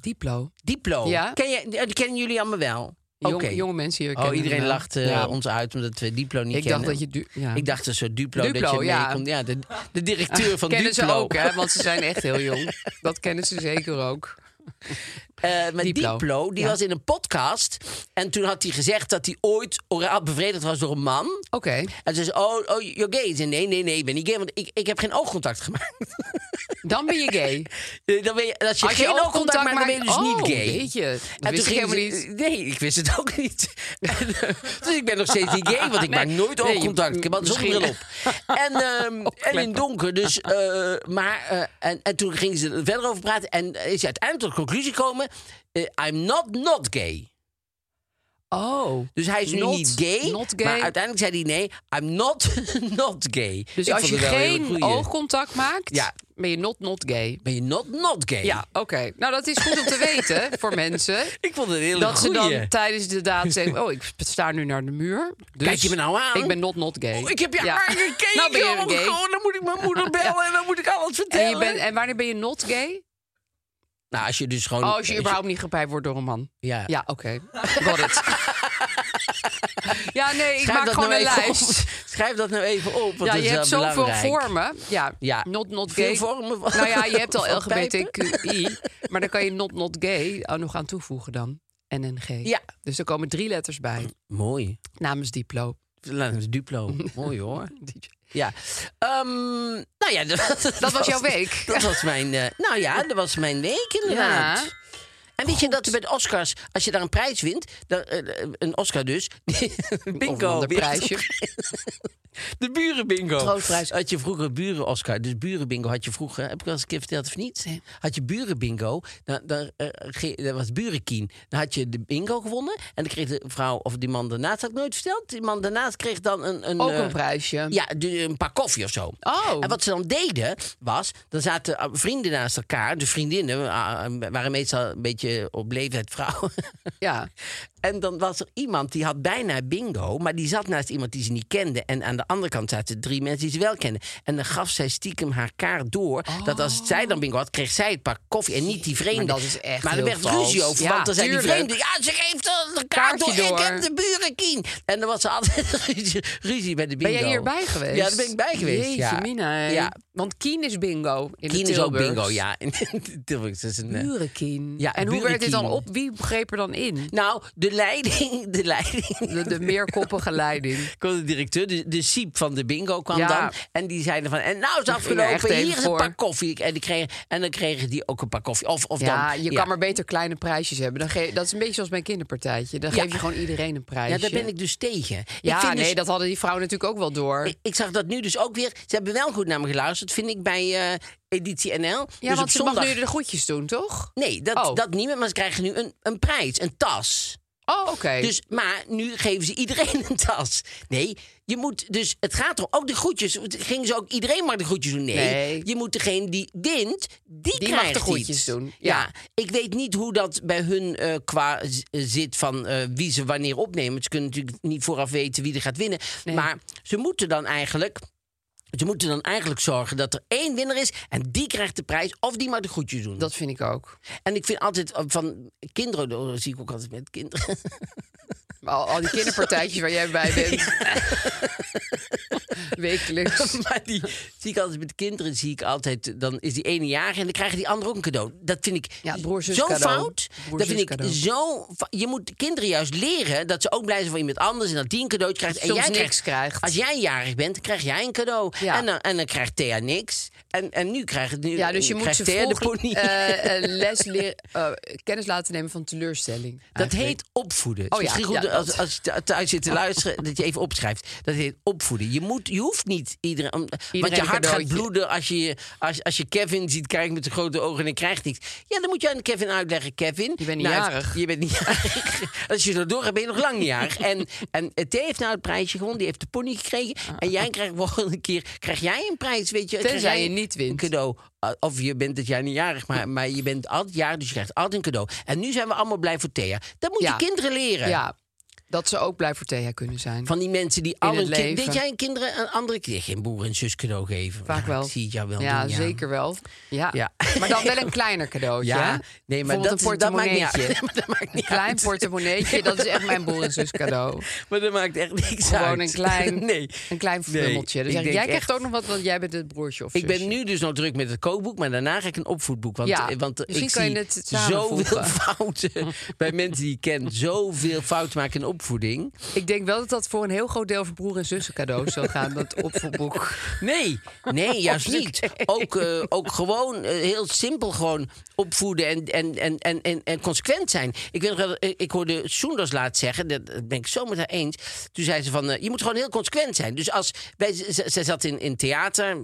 Speaker 3: Diplo.
Speaker 1: Diplo.
Speaker 3: Ja.
Speaker 1: Ken je, die kennen jullie allemaal wel?
Speaker 3: Jong,
Speaker 1: Oké.
Speaker 3: Jonge mensen hier
Speaker 1: Oh,
Speaker 3: kennen
Speaker 1: iedereen
Speaker 3: hem wel.
Speaker 1: lacht eh,
Speaker 3: Ja.
Speaker 1: ons uit omdat we Diplo niet
Speaker 3: Ik dacht
Speaker 1: kennen.
Speaker 3: dat je du- ja.
Speaker 1: Ik dacht een soort Duplo, dat
Speaker 3: Duplo,
Speaker 1: je
Speaker 3: ja. Ah,
Speaker 1: meekomt. Ja, de, de directeur van
Speaker 3: kennen
Speaker 1: Duplo.
Speaker 3: ze ook, hè? Want ze zijn echt heel
Speaker 1: <laughs>
Speaker 3: jong. Dat kennen ze zeker ook.
Speaker 1: Eh, maar Diplo,
Speaker 3: Diplo.
Speaker 1: die
Speaker 3: Ja.
Speaker 1: was in een podcast. En toen had hij gezegd dat hij ooit oraal bevredigd was door een man.
Speaker 3: Oké.
Speaker 1: En ze zei, oh, oh, you're gay. Ze zei, nee, nee, nee, ik ben niet gay, want ik, ik heb geen oogcontact gemaakt. <laughs>
Speaker 3: Dan ben je gay.
Speaker 1: Eh, dan ben je, als je
Speaker 3: Als je
Speaker 1: geen oogcontact,
Speaker 3: oogcontact
Speaker 1: maakt, dan ben je dus
Speaker 3: maakt-
Speaker 1: niet
Speaker 3: Oh,
Speaker 1: gay.
Speaker 3: weet je.
Speaker 1: En
Speaker 3: Dat wist
Speaker 1: toen
Speaker 3: ik
Speaker 1: ging
Speaker 3: helemaal
Speaker 1: ze- Nee, ik wist het ook niet. <laughs> En, eh, dus ik ben nog steeds niet gay, want ik maak nooit
Speaker 3: Nee,
Speaker 1: oogcontact. Ik heb altijd
Speaker 3: misschien-
Speaker 1: zonnebril op. En,
Speaker 3: <laughs>
Speaker 1: ehm, en in donker, dus... eh, maar, eh, en, en toen gingen ze er verder over praten. En is ze uiteindelijk tot de conclusie gekomen... eh, I'm not not gay.
Speaker 3: Oh.
Speaker 1: Dus hij is nu
Speaker 3: Not-
Speaker 1: niet gay,
Speaker 3: not gay.
Speaker 1: Maar uiteindelijk zei hij nee, I'm not <laughs> not gay.
Speaker 3: Dus
Speaker 1: Ik
Speaker 3: als
Speaker 1: vond
Speaker 3: je
Speaker 1: het wel een hele
Speaker 3: geen
Speaker 1: goeie.
Speaker 3: oogcontact maakt,
Speaker 1: Ja.
Speaker 3: ben je not not gay.
Speaker 1: Ben je not not gay?
Speaker 3: Ja, oké. Nou, dat is goed om
Speaker 1: <laughs>
Speaker 3: te weten voor mensen.
Speaker 1: Ik vond het een hele
Speaker 3: Dat ze
Speaker 1: goeie.
Speaker 3: dan tijdens de
Speaker 1: <laughs>
Speaker 3: daad zeggen... oh, ik sta nu naar de muur. Dus
Speaker 1: Kijk je me nou aan?
Speaker 3: Ik ben not not gay.
Speaker 1: Oh, ik heb je
Speaker 3: Ja.
Speaker 1: haar gekeken.
Speaker 3: <laughs> Nou ben je
Speaker 1: oh,
Speaker 3: gay.
Speaker 1: gewoon, dan moet ik mijn
Speaker 3: <laughs>
Speaker 1: moeder bellen en dan moet ik alles
Speaker 3: En,
Speaker 1: vertellen.
Speaker 3: je bent, en wanneer ben je not gay?
Speaker 1: Nou, als je dus gewoon...
Speaker 3: Oh, als je überhaupt niet gepijpt wordt door een man.
Speaker 1: Ja.
Speaker 3: Ja, oké. Got it. <laughs> ja, nee, ik
Speaker 1: Schrijf
Speaker 3: maak
Speaker 1: dat
Speaker 3: gewoon
Speaker 1: nou
Speaker 3: een
Speaker 1: even op. <laughs>
Speaker 3: lijst.
Speaker 1: Schrijf dat nou even op, want
Speaker 3: Ja,
Speaker 1: dat
Speaker 3: je
Speaker 1: is
Speaker 3: hebt
Speaker 1: wel
Speaker 3: zoveel
Speaker 1: belangrijk.
Speaker 3: vormen. Ja,
Speaker 1: Ja.
Speaker 3: not not
Speaker 1: Veel
Speaker 3: gay.
Speaker 1: vormen van-
Speaker 3: nou ja, je hebt al
Speaker 1: <laughs> van
Speaker 3: LGBTQI, maar dan kan je not not gay ook nog aan toevoegen dan. NNG.
Speaker 1: Ja.
Speaker 3: Dus er komen drie letters bij,
Speaker 1: Mooi.
Speaker 3: namens Diplo.
Speaker 1: <laughs> Laten we Duplo. Mooi
Speaker 3: <laughs>
Speaker 1: hoor. Ja. Ehm, nou ja, <laughs> dat, dat
Speaker 3: was jouw week.
Speaker 1: <laughs> Dat was mijn... eh, nou ja, dat was mijn week inderdaad.
Speaker 3: Ja.
Speaker 1: En weet je dat er bij de Oscars, als je daar een prijs wint, dan, eh, eh, een Oscar dus, <laughs> bingo,
Speaker 3: Of een ander
Speaker 1: weer.
Speaker 3: prijsje.
Speaker 1: De burenbingo.
Speaker 3: Troostprijs.
Speaker 1: Had je vroeger buren, Oscar? Dus burenbingo had je vroeger. Heb ik wel eens een keer verteld of niet? Had je burenbingo? Dan, dan, eh, ge- dat was burenkien. Dan had je de bingo gewonnen. En dan kreeg de vrouw of die man daarnaast, had ik nooit verteld. Die man daarnaast kreeg dan een. een
Speaker 3: Ook een
Speaker 1: eh,
Speaker 3: prijsje.
Speaker 1: ja, de- een pak koffie of zo.
Speaker 3: Oh.
Speaker 1: En wat ze dan deden was, dan zaten eh, vrienden naast elkaar. Dus vriendinnen eh, waren meestal een beetje op leeftijd vrouwen.
Speaker 3: Ja.
Speaker 1: En dan was er iemand die had bijna bingo, maar die zat naast iemand die ze niet kende. En aan de andere kant zaten drie mensen die ze wel kenden. En dan gaf zij stiekem haar kaart door. Dat als zij dan bingo had, kreeg zij het pak koffie en niet die vreemde.
Speaker 3: Oh. Maar dat is echt
Speaker 1: Maar er
Speaker 3: heel
Speaker 1: werd ruzie
Speaker 3: vals.
Speaker 1: over,
Speaker 3: Ja,
Speaker 1: want dan zei die
Speaker 3: tuurlijk.
Speaker 1: vreemde... Ja, ze geeft de kaart
Speaker 3: Kaartje
Speaker 1: door, ik
Speaker 3: door.
Speaker 1: heb de burenkien. En dan was er altijd <laughs> ruzie, ruzie bij de bingo.
Speaker 3: Ben jij hierbij geweest?
Speaker 1: Ja, daar ben ik bij geweest.
Speaker 3: Jeetje,
Speaker 1: ja.
Speaker 3: mina. hè.
Speaker 1: Ja,
Speaker 3: Want Kien is bingo in
Speaker 1: Kien
Speaker 3: de
Speaker 1: is ook
Speaker 3: Tilburgs.
Speaker 1: bingo, ja. <laughs> In Tilburg is het een... eh,
Speaker 3: Burenkien.
Speaker 1: Ja,
Speaker 3: en hoe werd dit dan
Speaker 1: burenkien.
Speaker 3: op? Wie begreep er dan in?
Speaker 1: Nou, de leiding, de leiding
Speaker 3: <laughs> De, de meerkoppige
Speaker 1: <laughs>
Speaker 3: leiding.
Speaker 1: kwam de directeur, de, de siep van de bingo kwam
Speaker 3: Ja.
Speaker 1: dan. En die zeiden van, en nou is
Speaker 3: er echt
Speaker 1: afgelopen, hier
Speaker 3: even
Speaker 1: is een
Speaker 3: voor.
Speaker 1: pak koffie. En, die kreeg, en dan kregen die ook een pak koffie. Of, of
Speaker 3: Ja,
Speaker 1: dan,
Speaker 3: je kan maar beter kleine prijsjes hebben. Dan ge- dat is een beetje zoals bij een kinderpartijtje. Dan
Speaker 1: Ja.
Speaker 3: geef je gewoon iedereen een prijsje.
Speaker 1: Ja, daar ben ik dus tegen.
Speaker 3: Ja,
Speaker 1: ik vind
Speaker 3: nee,
Speaker 1: dus-
Speaker 3: dat hadden die vrouwen natuurlijk ook wel door.
Speaker 1: ik, ik zag dat nu dus ook weer. Ze hebben wel goed naar me geluisterd, vind ik, bij eh, Editie NL. dus
Speaker 3: ja, want
Speaker 1: op
Speaker 3: ze
Speaker 1: zondag...
Speaker 3: mag nu de groetjes doen, toch?
Speaker 1: Nee, dat,
Speaker 3: Oh.
Speaker 1: dat niet meer, maar ze krijgen nu een, een prijs, een tas.
Speaker 3: Oh, oké.
Speaker 1: <laughs> Dus, maar nu geven ze iedereen <laughs> een tas. Nee, je moet dus, het gaat erom, ook de groetjes, gingen ze ook iedereen maar de groetjes doen? Nee,
Speaker 3: Nee.
Speaker 1: je moet degene die wint, die,
Speaker 3: Die mag
Speaker 1: krijgt
Speaker 3: de groetjes
Speaker 1: iets.
Speaker 3: doen,
Speaker 1: Ja.
Speaker 3: ja.
Speaker 1: ik weet niet hoe dat bij hun eh, qua z- eh, zit van eh, wie ze wanneer opnemen. Ze kunnen natuurlijk niet vooraf weten wie er gaat winnen. Maar ze moeten dan eigenlijk... Ze moeten dan eigenlijk zorgen dat er één winnaar is en die krijgt de prijs of die maar de groetjes doen.
Speaker 3: dat vind ik ook.
Speaker 1: En ik vind altijd eh, van kinderen, oh, dat zie ik ook altijd met kinderen. <laughs>
Speaker 3: Al, al die kinderpartijtjes waar jij bij bent. wekelijks.
Speaker 1: <laughs> maar die zie ik altijd met de kinderen, zie ik altijd, dan is die ene jarig en dan krijgen die anderen ook een cadeau. Dat vind ik
Speaker 3: Ja, broer, zus
Speaker 1: zo
Speaker 3: cadeau.
Speaker 1: fout.
Speaker 3: Broer,
Speaker 1: dat
Speaker 3: zus
Speaker 1: vind ik
Speaker 3: cadeau.
Speaker 1: zo. fa- Je moet de kinderen juist leren dat ze ook blij zijn voor iemand anders en dat die een cadeautje krijgt. en
Speaker 3: Soms
Speaker 1: jij
Speaker 3: niks krijgt.
Speaker 1: Als jij jarig bent, dan krijg jij een cadeau.
Speaker 3: Ja.
Speaker 1: En, dan, en dan krijgt Thea niks. En, en nu krijgt nu
Speaker 3: Ja, dus je moet
Speaker 1: krijgt
Speaker 3: ze
Speaker 1: Thea
Speaker 3: vroeg
Speaker 1: de pony.
Speaker 3: eh, eh, les leer, eh, kennis laten nemen van teleurstelling.
Speaker 1: Dat
Speaker 3: eigenlijk.
Speaker 1: heet opvoeden. Het
Speaker 3: Oh
Speaker 1: is
Speaker 3: ja,
Speaker 1: misschien goed
Speaker 3: ja,
Speaker 1: als,
Speaker 3: dat.
Speaker 1: als je th- thuis
Speaker 3: <laughs>
Speaker 1: zit te luisteren, dat je even opschrijft. Dat heet opvoeden. Je, moet, je hoeft niet iedereen... om- want je
Speaker 3: een
Speaker 1: hart gaat
Speaker 3: cadeautje.
Speaker 1: bloeden als je, als, als je Kevin ziet kijken met de grote ogen en hij krijgt niks. Ja, dan moet je aan Kevin uitleggen. Kevin...
Speaker 3: Je bent niet
Speaker 1: nou,
Speaker 3: jarig.
Speaker 1: Je bent niet
Speaker 3: <laughs>
Speaker 1: jarig. als je zo doorgaat ben je nog lang niet jarig. En, en Thee heeft nou het prijsje gewonnen. Die heeft de pony gekregen. En jij krijgt volgende keer... Krijg jij een prijs, weet je?
Speaker 3: Ah. Tenzij
Speaker 1: krijg jij
Speaker 3: je niet
Speaker 1: een
Speaker 3: wint.
Speaker 1: cadeau. Uh, Of je bent dit jaar niet jarig, maar, maar je bent altijd jarig, dus je krijgt altijd een cadeau. En nu zijn we allemaal blij voor Thea. Dat moet
Speaker 3: Ja.
Speaker 1: je kinderen leren.
Speaker 3: Ja, dat ze ook blij voor Thea kunnen zijn.
Speaker 1: Van die mensen die alle
Speaker 3: het
Speaker 1: kinderen.
Speaker 3: leven.
Speaker 1: Weet jij een kinderen een andere keer geen broer en zus cadeau geven?
Speaker 3: Vaak
Speaker 1: Ja,
Speaker 3: wel.
Speaker 1: Ik zie het jou wel.
Speaker 3: ja,
Speaker 1: doen,
Speaker 3: zeker wel. Ja.
Speaker 1: Ja.
Speaker 3: Maar dan wel een kleiner cadeautje. hè?
Speaker 1: Ja, nee, maar dat,
Speaker 3: Bijvoorbeeld
Speaker 1: is- dat maakt niet uit. <laughs>
Speaker 3: portemonneetje.
Speaker 1: Nee, maar dat maakt
Speaker 3: Een
Speaker 1: niet
Speaker 3: klein
Speaker 1: uit.
Speaker 3: portemonneetje, dat is echt mijn broer en zus
Speaker 1: <laughs>
Speaker 3: cadeau.
Speaker 1: Maar dat maakt echt niks uit.
Speaker 3: Gewoon een klein,
Speaker 1: <laughs> nee.
Speaker 3: een klein vermummeltje.
Speaker 1: Nee,
Speaker 3: Dus
Speaker 1: ik
Speaker 3: zeg ik,
Speaker 1: denk
Speaker 3: jij
Speaker 1: echt-
Speaker 3: krijgt ook nog wat, want jij bent het broertje of
Speaker 1: Ik ben
Speaker 3: zusje.
Speaker 1: nu dus nog druk met het kookboek, maar daarna ga ik een opvoedboek. Want,
Speaker 3: Ja,
Speaker 1: eh, want eh,
Speaker 3: misschien
Speaker 1: ik
Speaker 3: kan je
Speaker 1: zie
Speaker 3: het
Speaker 1: zoveel
Speaker 3: samenvoegen.
Speaker 1: <laughs>
Speaker 3: <laughs>
Speaker 1: fouten bij mensen die ik ken. Zoveel fouten maken in opvoeding.
Speaker 3: Ik denk wel dat dat voor een heel groot deel van broer en zussen cadeaus zal gaan,
Speaker 1: <laughs>
Speaker 3: dat opvoedboek.
Speaker 1: Nee,
Speaker 3: <laughs>
Speaker 1: nee, juist niet. Ook, eh, ook gewoon eh, heel simpel gewoon opvoeden en, en, en, en, en, en consequent zijn. Ik, weet nog wel, eh, ik hoorde Soenders laat zeggen, dat dat ben ik zo met haar eens. Toen zei ze van, eh, je moet gewoon heel consequent zijn. Dus als, wij, ze- ze, ze zat in, in theater,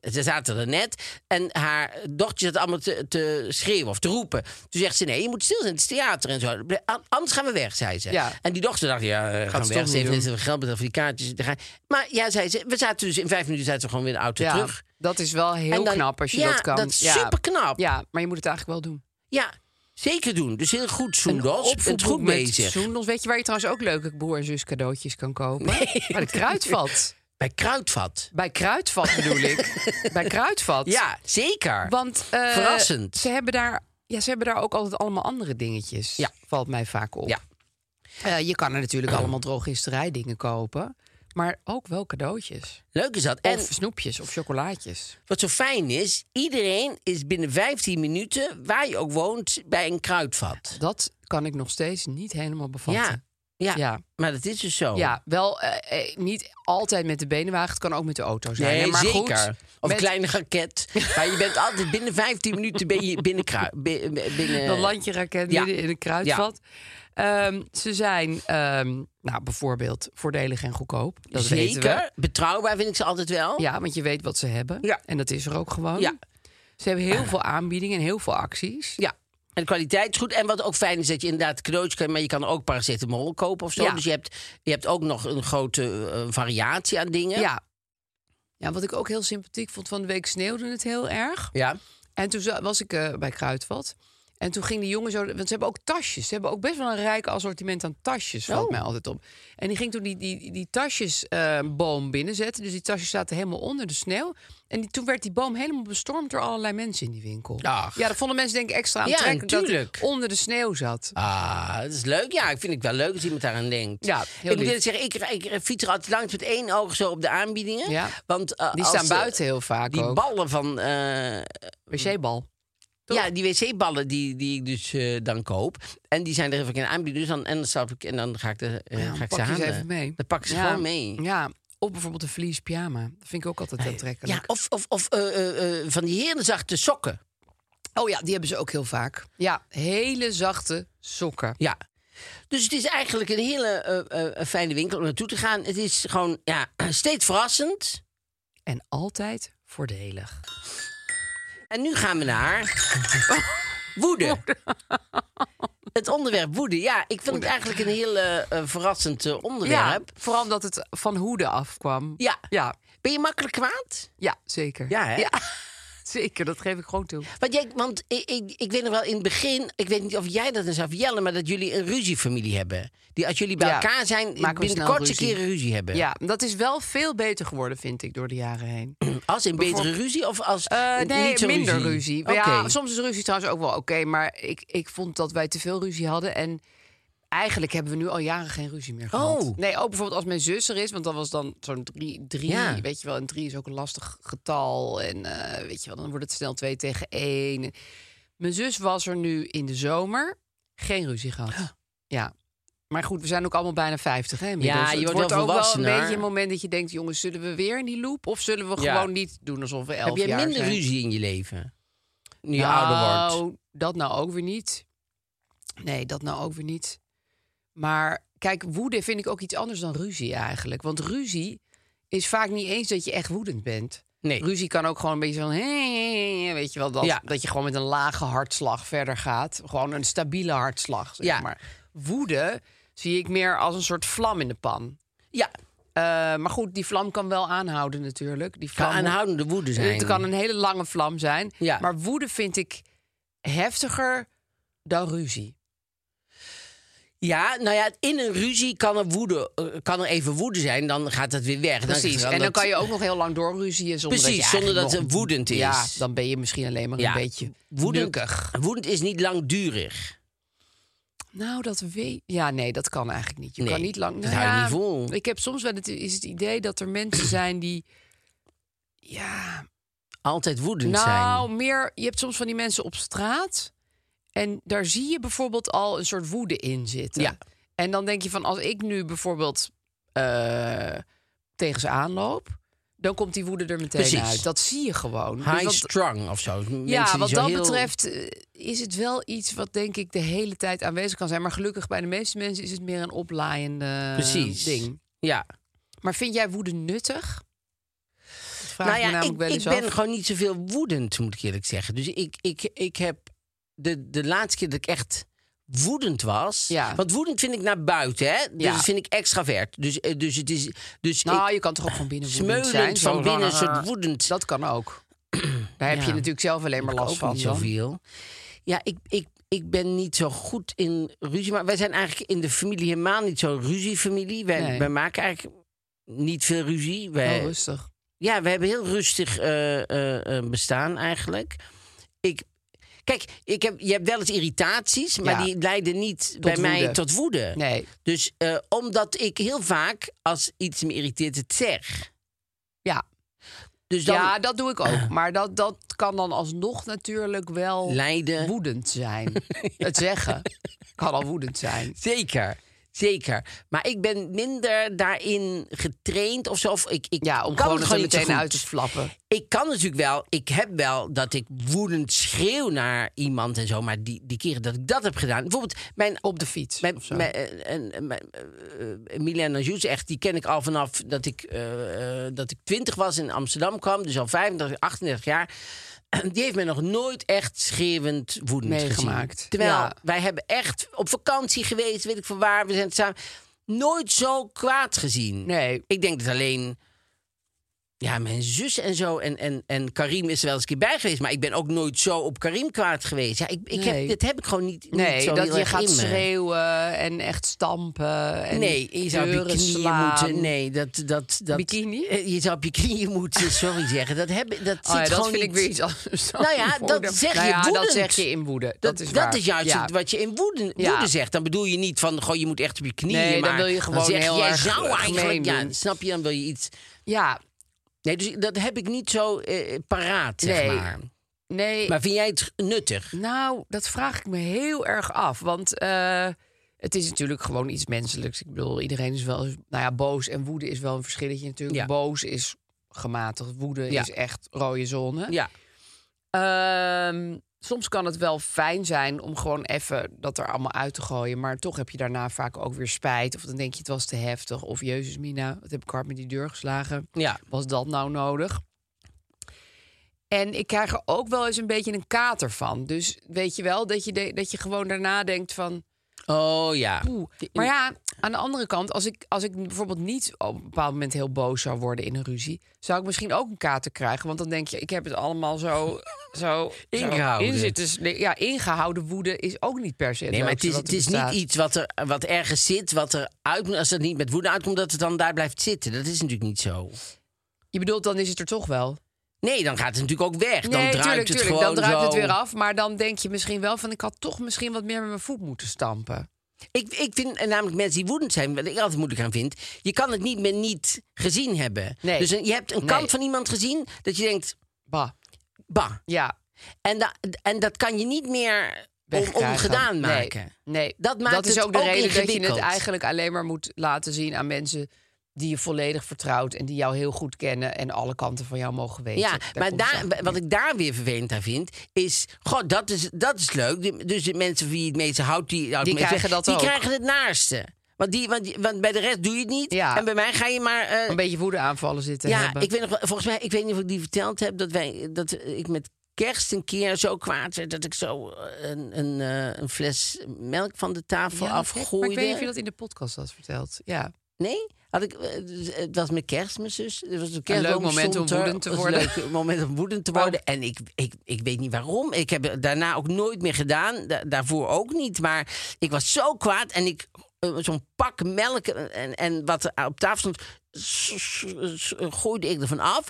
Speaker 1: eh, ze zaten er net. En haar dochtertje zat allemaal te, te schreeuwen of te roepen. Toen zegt ze, nee, je moet stil zijn, het is theater en zo. Ble- a- Anders gaan we weg, zei ze.
Speaker 3: Ja.
Speaker 1: En die dochter dacht, ja, eh, gaan
Speaker 3: ze
Speaker 1: we weg.
Speaker 3: toch niet
Speaker 1: Ze heeft
Speaker 3: doen.
Speaker 1: net zoveel geld betaald voor die kaartjes. Daar ga- Maar ja, zei ze, we zaten dus in vijf minuten zaten we gewoon weer in de auto
Speaker 3: Ja,
Speaker 1: terug.
Speaker 3: dat is wel heel
Speaker 1: En dan-
Speaker 3: knap als je
Speaker 1: ja,
Speaker 3: dat kan.
Speaker 1: dat is superknap.
Speaker 3: Ja, maar je moet het eigenlijk wel doen.
Speaker 1: Ja, zeker doen. Dus heel goed, Soendos. Het
Speaker 3: opvoedboek
Speaker 1: goed
Speaker 3: met
Speaker 1: bezig.
Speaker 3: zoendels. Weet je waar je trouwens ook leuke broer en zus cadeautjes kan kopen? Bij het kruidvat.
Speaker 1: Bij Kruidvat.
Speaker 3: Bij kruidvat bedoel ik.
Speaker 1: <laughs>
Speaker 3: Bij kruidvat.
Speaker 1: Ja, zeker.
Speaker 3: Want eh,
Speaker 1: Verrassend.
Speaker 3: Ze hebben, daar, ja, ze hebben daar ook altijd allemaal andere dingetjes.
Speaker 1: Ja.
Speaker 3: Valt mij vaak op.
Speaker 1: Ja. Ehm.
Speaker 3: Eh, je kan er natuurlijk allemaal drogisterijdingen kopen. Maar ook wel cadeautjes.
Speaker 1: Leuk is dat. En
Speaker 3: Of snoepjes of chocolaatjes.
Speaker 1: wat zo fijn is, iedereen is binnen 15 minuten, waar je ook woont, bij een kruidvat.
Speaker 3: Dat kan ik nog steeds niet helemaal bevatten.
Speaker 1: Ja, ja,
Speaker 3: Ja.
Speaker 1: maar dat is dus zo.
Speaker 3: Ja, wel eh, eh, niet altijd met de benenwagen. Het kan ook met de auto zijn.
Speaker 1: Nee,
Speaker 3: hè, maar
Speaker 1: zeker.
Speaker 3: Goed,
Speaker 1: of
Speaker 3: met-
Speaker 1: een kleine raket. maar je bent altijd binnen 15 minuten ben je binnen...
Speaker 3: <laughs>
Speaker 1: krui- bi- binnen
Speaker 3: Dan land je raket
Speaker 1: ja.
Speaker 3: midden in een kruidvat. Ehm, ze zijn ehm, nou, bijvoorbeeld voordelig en goedkoop. Dat weten we.
Speaker 1: Zeker. Betrouwbaar vind ik ze altijd wel.
Speaker 3: Ja, want je weet wat ze hebben.
Speaker 1: Ja.
Speaker 3: En dat is er ook gewoon.
Speaker 1: Ja.
Speaker 3: Ze hebben heel veel aanbiedingen en heel veel acties.
Speaker 1: Ja. En de kwaliteit is goed. En wat ook fijn is dat je inderdaad cadeautjes kan, maar je kan ook paracetamol kopen of zo.
Speaker 3: Ja.
Speaker 1: Dus je hebt, je hebt ook nog een grote eh, variatie aan dingen.
Speaker 3: ja. Ja, wat ik ook heel sympathiek vond, van de week sneeuwde het heel erg.
Speaker 1: Ja.
Speaker 3: En toen za- was ik eh, bij Kruidvat. En toen ging die jongen zo... Want ze hebben ook tasjes. Ze hebben ook best wel een rijk assortiment aan tasjes, valt
Speaker 1: Oh.
Speaker 3: mij altijd op. En die ging toen die, die, die tasjesboom binnenzetten. Dus die tasjes zaten helemaal onder de sneeuw. En die, toen werd die boom helemaal bestormd door allerlei mensen in die winkel.
Speaker 1: Ach.
Speaker 3: Ja, dat vonden mensen denk ik extra
Speaker 1: Ja,
Speaker 3: aantrekkelijk dat
Speaker 1: natuurlijk.
Speaker 3: het onder de sneeuw zat.
Speaker 1: Ah, dat is leuk. Ja, ik vind het wel leuk als iemand daaraan denkt.
Speaker 3: Ja, heel
Speaker 1: ik moet
Speaker 3: lief.
Speaker 1: eerlijk zeggen, ik, ik fiets er altijd langs met één oog zo op de aanbiedingen.
Speaker 3: Ja.
Speaker 1: Want, eh,
Speaker 3: Die
Speaker 1: als
Speaker 3: staan
Speaker 1: de-
Speaker 3: buiten heel vaak
Speaker 1: Die
Speaker 3: ook.
Speaker 1: ballen van... eh,
Speaker 3: Wc-bal.
Speaker 1: Ja, die wc-ballen die, die ik dus eh, dan koop. En die zijn er even in aanbieding. Dus dan, en, dan stap ik, en dan ga ik, de, eh,
Speaker 3: Ja,
Speaker 1: ga ik
Speaker 3: pak
Speaker 1: ze
Speaker 3: je
Speaker 1: halen.
Speaker 3: ze even mee.
Speaker 1: Dan pak ik ze
Speaker 3: Ja.
Speaker 1: gewoon mee.
Speaker 3: Ja, of bijvoorbeeld een vlies pyjama. Dat vind ik ook altijd aantrekkelijk.
Speaker 1: Ja, of, of, of eh, eh, eh, van die herenzachte sokken.
Speaker 3: Oh ja, die hebben ze ook heel vaak. Ja, hele zachte sokken.
Speaker 1: Ja. Dus het is eigenlijk een hele eh, eh, fijne winkel om naartoe te gaan. Het is gewoon ja, <clears throat> steeds verrassend.
Speaker 3: En altijd voordelig.
Speaker 1: En nu gaan we
Speaker 3: <laughs>
Speaker 1: naar woede. Het onderwerp woede. Ja, ik vind het eigenlijk een heel eh, eh, verrassend eh,
Speaker 3: Ja,
Speaker 1: onderwerp.
Speaker 3: vooral omdat het van hoede afkwam.
Speaker 1: Ja.
Speaker 3: Ja,
Speaker 1: Ben je makkelijk kwaad?
Speaker 3: ja zeker.
Speaker 1: Ja, hè?
Speaker 3: <laughs> zeker, dat geef ik gewoon toe.
Speaker 1: Want, jij, want ik, ik, ik weet nog wel in het begin, ik weet niet of jij dat eens zou vertellen, maar dat jullie een ruziefamilie hebben. Die als jullie bij
Speaker 3: Ja.
Speaker 1: elkaar zijn,
Speaker 3: Maken we
Speaker 1: binnen de
Speaker 3: snel
Speaker 1: kortste
Speaker 3: ruzie.
Speaker 1: keren ruzie hebben.
Speaker 3: Ja, dat is wel veel beter geworden, vind ik, door de jaren heen.
Speaker 1: Als in betere ruzie of als
Speaker 3: Eh, nee,
Speaker 1: niet zo
Speaker 3: minder ruzie. Maar
Speaker 1: Oké.
Speaker 3: Ja, soms is ruzie trouwens ook wel oké. maar ik, ik vond dat wij te veel ruzie hadden. En Eigenlijk hebben we nu al jaren geen ruzie meer gehad.
Speaker 1: Oh.
Speaker 3: Nee, ook bijvoorbeeld als mijn zus er is, want dan was dan zo'n drie, drie
Speaker 1: Ja.
Speaker 3: weet je wel. En drie is ook een lastig getal. En eh, weet je wel, dan wordt het snel twee tegen één. Mijn zus was er nu in de zomer. Geen ruzie gehad. Ja. Maar goed, we zijn ook allemaal bijna 50. Hè, inmiddels.
Speaker 1: Ja, je
Speaker 3: Het
Speaker 1: wordt
Speaker 3: wordt
Speaker 1: wel
Speaker 3: ook wel een
Speaker 1: volwassener.
Speaker 3: beetje een moment dat je denkt: jongens, zullen we weer in die loop? Of zullen we
Speaker 1: Ja.
Speaker 3: gewoon niet doen alsof we elf
Speaker 1: Heb jij
Speaker 3: jaar
Speaker 1: minder
Speaker 3: zijn?
Speaker 1: ruzie in je leven? Nu je
Speaker 3: nou,
Speaker 1: ouder wordt.
Speaker 3: dat nou ook weer niet. Nee, dat nou ook weer niet. Maar kijk, woede vind ik ook iets anders dan ruzie eigenlijk. Want ruzie is vaak niet eens dat je echt woedend bent.
Speaker 1: Nee.
Speaker 3: Ruzie kan ook gewoon een beetje van... Weet je wel, dat,
Speaker 1: Ja.
Speaker 3: dat je gewoon met een lage hartslag verder gaat. Gewoon een stabiele hartslag, zeg
Speaker 1: Ja.
Speaker 3: maar. Woede zie ik meer als een soort vlam in de pan.
Speaker 1: Ja,
Speaker 3: Eh, maar goed, die vlam kan wel aanhouden natuurlijk. Die
Speaker 1: kan
Speaker 3: vlam
Speaker 1: aanhoudende woede zijn.
Speaker 3: het kan een hele lange vlam zijn.
Speaker 1: Ja.
Speaker 3: Maar woede vind ik heftiger dan
Speaker 1: Nou,
Speaker 3: ruzie.
Speaker 1: Ja, nou ja, in een ruzie kan er, woede, eh, kan er even woede zijn, dan gaat het weer weg.
Speaker 3: Precies. En dan kan je ook nog heel lang doorruzieën zonder dat
Speaker 1: Precies,
Speaker 3: je
Speaker 1: zonder dat
Speaker 3: eigenlijk
Speaker 1: het
Speaker 3: nog-
Speaker 1: woedend is.
Speaker 3: Ja, dan ben je misschien alleen maar
Speaker 1: Ja,
Speaker 3: een beetje
Speaker 1: woedend,
Speaker 3: nukkig.
Speaker 1: woedend is niet langdurig.
Speaker 3: Nou, dat weet... Ja, nee, dat kan eigenlijk niet. Je
Speaker 1: Nee,
Speaker 3: kan niet lang...
Speaker 1: dat
Speaker 3: Nou
Speaker 1: hou je
Speaker 3: ja,
Speaker 1: niet vol.
Speaker 3: Ik heb soms wel het, is het idee dat er mensen zijn die... Ja,
Speaker 1: Altijd woedend
Speaker 3: nou,
Speaker 1: zijn.
Speaker 3: meer... Je hebt soms van die mensen op straat... En daar zie je bijvoorbeeld al een soort woede in zitten.
Speaker 1: Ja.
Speaker 3: En dan denk je van, als ik nu bijvoorbeeld eh, tegen ze aanloop... dan komt die woede er meteen
Speaker 1: Precies.
Speaker 3: uit. Dat zie je gewoon. Dus
Speaker 1: High
Speaker 3: wat-
Speaker 1: strung of zo. Mensen
Speaker 3: ja,
Speaker 1: die
Speaker 3: wat
Speaker 1: zo
Speaker 3: dat
Speaker 1: heel-
Speaker 3: betreft eh, is het wel iets wat denk ik de hele tijd aanwezig kan zijn. Maar gelukkig bij de meeste mensen is het meer een oplaaiende eh,
Speaker 1: Precies.
Speaker 3: ding.
Speaker 1: Ja.
Speaker 3: Maar vind jij woede nuttig? Dat vraag
Speaker 1: nou
Speaker 3: ik me
Speaker 1: ja,
Speaker 3: namelijk
Speaker 1: ik,
Speaker 3: wel
Speaker 1: ik
Speaker 3: eens
Speaker 1: ben
Speaker 3: af.
Speaker 1: gewoon niet zoveel woedend, moet ik eerlijk zeggen. Dus ik, ik, ik heb de, de laatste keer dat ik echt woedend was.
Speaker 3: Ja.
Speaker 1: Want woedend vind ik naar buiten, hè? Dus
Speaker 3: Ja.
Speaker 1: dat vind ik extravert. Dus, eh, dus het is. Dus
Speaker 3: Nou,
Speaker 1: ik,
Speaker 3: je kan toch ook van binnen woedend
Speaker 1: smeulend
Speaker 3: zijn? Zo
Speaker 1: van binnen, een
Speaker 3: van,
Speaker 1: soort woedend.
Speaker 3: eh, Dat kan <clears throat> ook. Daar heb
Speaker 1: Ja.
Speaker 3: je natuurlijk zelf alleen maar
Speaker 1: Ik
Speaker 3: last
Speaker 1: ook
Speaker 3: van.
Speaker 1: niet
Speaker 3: dan.
Speaker 1: zoveel. Ja, ik, ik, ik ben niet zo goed in ruzie. Maar wij zijn eigenlijk in de familie helemaal niet zo'n ruziefamilie. Wij,
Speaker 3: Nee. Oh,
Speaker 1: wij maken eigenlijk niet veel ruzie. Wij,
Speaker 3: Wel Nou, rustig.
Speaker 1: ja, we hebben heel rustig eh, eh, eh, bestaan eigenlijk. Ik, kijk, ik heb, je hebt wel eens irritaties, maar
Speaker 3: Ja.
Speaker 1: die leiden niet bij mij
Speaker 3: woede.
Speaker 1: tot woede.
Speaker 3: Nee.
Speaker 1: Dus eh, omdat ik heel vaak, als iets me irriteert, het zeg.
Speaker 3: Ja.
Speaker 1: Dus dan
Speaker 3: ja, dat doe ik ook. <clears throat> Maar dat, dat kan dan alsnog natuurlijk wel
Speaker 1: leiden.
Speaker 3: woedend <laughs> zijn. Het zeggen kan al woedend zijn.
Speaker 1: Zeker, zeker. Maar ik ben minder daarin getraind of zo. Of ik, ik
Speaker 3: Ja, om
Speaker 1: kan
Speaker 3: gewoon
Speaker 1: het
Speaker 3: het er
Speaker 1: niet zo
Speaker 3: meteen
Speaker 1: goed.
Speaker 3: uit te flappen.
Speaker 1: Ik kan natuurlijk wel, ik heb wel dat ik woedend schreeuw naar iemand en zo. Maar die, die keren dat ik dat heb gedaan. Bijvoorbeeld mijn...
Speaker 3: Op de fiets.
Speaker 1: Mijn,
Speaker 3: of zo.
Speaker 1: mijn, eh, en- en mijn, eh, eh, Milena Joets, echt, die ken ik al vanaf dat ik, eh, eh, dat ik 20 was in Amsterdam kwam, dus al 35, 38 jaar. <clears throat> Die heeft mij nog nooit echt schreeuwend woedend
Speaker 3: Meegemaakt.
Speaker 1: gezien. Terwijl
Speaker 3: Ja.
Speaker 1: wij hebben echt op vakantie geweest, weet ik van waar, we zijn samen nooit zo kwaad gezien.
Speaker 3: Nee.
Speaker 1: Ik denk dat alleen ja, mijn zus en zo en, en, en Karim is er wel eens een keer bij geweest, maar ik ben ook nooit zo op Karim kwaad geweest. Ja, ik, ik
Speaker 3: Nee.
Speaker 1: heb, dit heb ik gewoon niet. niet
Speaker 3: Nee,
Speaker 1: zo
Speaker 3: dat
Speaker 1: heel
Speaker 3: je
Speaker 1: erg
Speaker 3: gaat
Speaker 1: in me.
Speaker 3: schreeuwen en echt stampen. En
Speaker 1: Nee, je zou op je
Speaker 3: deuren
Speaker 1: knieën
Speaker 3: slaan.
Speaker 1: moeten. Nee, dat, dat, dat,
Speaker 3: Bikini?
Speaker 1: Eh, Je zou op je knieën moeten, <laughs> sorry zeggen. Dat, heb, dat
Speaker 3: Oh ja,
Speaker 1: zit
Speaker 3: dat
Speaker 1: gewoon
Speaker 3: vind ik
Speaker 1: niet-
Speaker 3: weer iets anders. dan
Speaker 1: Nou ja,
Speaker 3: woede.
Speaker 1: dat zeg
Speaker 3: Nou
Speaker 1: je
Speaker 3: ja,
Speaker 1: woedend.
Speaker 3: Dat zeg je in woede. Dat, is waar.
Speaker 1: juist
Speaker 3: Ja.
Speaker 1: het- wat je in woede, woede
Speaker 3: Ja.
Speaker 1: zegt. Dan bedoel je niet van, goh, je moet echt op je knieën.
Speaker 3: Nee, dan
Speaker 1: maar
Speaker 3: wil je gewoon
Speaker 1: zeg je,
Speaker 3: heel
Speaker 1: jij
Speaker 3: erg
Speaker 1: zou
Speaker 3: gemeen
Speaker 1: eigenlijk, ja,
Speaker 3: doen.
Speaker 1: snap je, dan wil je iets.
Speaker 3: Ja,
Speaker 1: Nee, dus dat heb ik niet zo eh, paraat, zeg
Speaker 3: Nee.
Speaker 1: maar.
Speaker 3: nee.
Speaker 1: Maar vind jij het nuttig?
Speaker 3: Nou, dat vraag ik me heel erg af. Want eh, het is natuurlijk gewoon iets menselijks. Ik bedoel, iedereen is wel... Nou ja, boos en woede is wel een verschilletje natuurlijk.
Speaker 1: Ja.
Speaker 3: Boos is gematigd. Woede
Speaker 1: Ja.
Speaker 3: is echt rode zone.
Speaker 1: Ja.
Speaker 3: Ehm, soms kan het wel fijn zijn om gewoon even dat er allemaal uit te gooien. Maar toch heb je daarna vaak ook weer spijt. Of dan denk je het was te heftig. Of jezus Mina, wat heb ik hard met die deur geslagen.
Speaker 1: Ja.
Speaker 3: Was dat nou nodig? En ik krijg er ook wel eens een beetje een kater van. Dus weet je wel, dat je, de- dat je gewoon daarna denkt van...
Speaker 1: Oh ja.
Speaker 3: Oeh. Maar ja, aan de andere kant, als ik, als ik bijvoorbeeld niet op een bepaald moment heel boos zou worden in een ruzie, zou ik misschien ook een kater krijgen. Want dan denk je, ik heb het allemaal
Speaker 1: <laughs>
Speaker 3: zo. zo
Speaker 1: Ingehouden.
Speaker 3: Zo in zitten s- nee, ja, ingehouden woede is ook niet per se.
Speaker 1: Nee, maar het is,
Speaker 3: leukste
Speaker 1: het
Speaker 3: wat er
Speaker 1: is niet
Speaker 3: bestaat.
Speaker 1: iets wat, er, wat ergens zit, wat er uit moet. Als dat niet met woede uitkomt, dat het dan daar blijft zitten. Dat is natuurlijk niet zo.
Speaker 3: Je bedoelt, dan is het er toch wel.
Speaker 1: Nee, dan gaat het natuurlijk ook weg. dan
Speaker 3: nee,
Speaker 1: druipt
Speaker 3: tuurlijk,
Speaker 1: het
Speaker 3: tuurlijk.
Speaker 1: gewoon
Speaker 3: Dan druipt het
Speaker 1: zo.
Speaker 3: weer af. Maar dan denk je misschien wel van, ik had toch misschien wat meer met mijn voet moeten stampen.
Speaker 1: Ik, ik vind eh, namelijk mensen die woedend zijn, wat ik altijd moeilijk aan vind, je kan het niet meer niet gezien hebben.
Speaker 3: Nee.
Speaker 1: Dus een- je hebt een
Speaker 3: Nee.
Speaker 1: kant van iemand gezien dat je denkt,
Speaker 3: Bah.
Speaker 1: bah.
Speaker 3: Ja.
Speaker 1: En, da- en dat kan je niet meer om,
Speaker 3: wegkrijgen.
Speaker 1: ongedaan
Speaker 3: Nee,
Speaker 1: maken.
Speaker 3: Nee,
Speaker 1: Dat maakt
Speaker 3: dat is
Speaker 1: het
Speaker 3: ook de
Speaker 1: ook
Speaker 3: reden dat je het
Speaker 1: ingewikkeld.
Speaker 3: eigenlijk alleen maar moet laten zien aan mensen die je volledig vertrouwt en die jou heel goed kennen en alle kanten van jou mogen weten.
Speaker 1: Ja,
Speaker 3: Daar
Speaker 1: maar
Speaker 3: komt het
Speaker 1: daar,
Speaker 3: eigenlijk
Speaker 1: wat ik daar weer vervelend aan vind, is... Goh, dat is, dat is leuk. Die- Dus de mensen van wie je het meeste houdt... Die, houdt
Speaker 3: Die
Speaker 1: het meeste-
Speaker 3: krijgen dat
Speaker 1: die
Speaker 3: ook.
Speaker 1: krijgen het naarste. Want, die, want, die- want bij de rest doe je het niet.
Speaker 3: Ja.
Speaker 1: En bij mij ga je maar... eh,
Speaker 3: Een beetje woedeaanvallen zitten
Speaker 1: ja,
Speaker 3: hebben.
Speaker 1: ik weet nog, wel- volgens mij, ik weet niet of ik die verteld heb... dat, wij, dat ik met kerst een keer zo kwaad werd... dat ik zo een, een, eh, een fles melk van de tafel
Speaker 3: Ja, dat weet ik,
Speaker 1: afgooide.
Speaker 3: Maar ik weet niet of je dat in de podcast had verteld. Ja.
Speaker 1: Nee? Had ik, eh, dus het was met kerst, mijn zus. Het was een, kerstboom
Speaker 3: leuk moment
Speaker 1: stond
Speaker 3: om
Speaker 1: er.
Speaker 3: woedend te
Speaker 1: Het was
Speaker 3: worden. Oh.
Speaker 1: Een leuk moment om woedend
Speaker 3: <laughs>
Speaker 1: te worden. En ik, ik, ik weet niet waarom. Ik heb het daarna ook nooit meer gedaan. Da- daarvoor ook niet. Maar ik was zo kwaad. En ik eh, zo'n pak melk en, en wat er op tafel stond... s- s- s- gooide ik ervan af.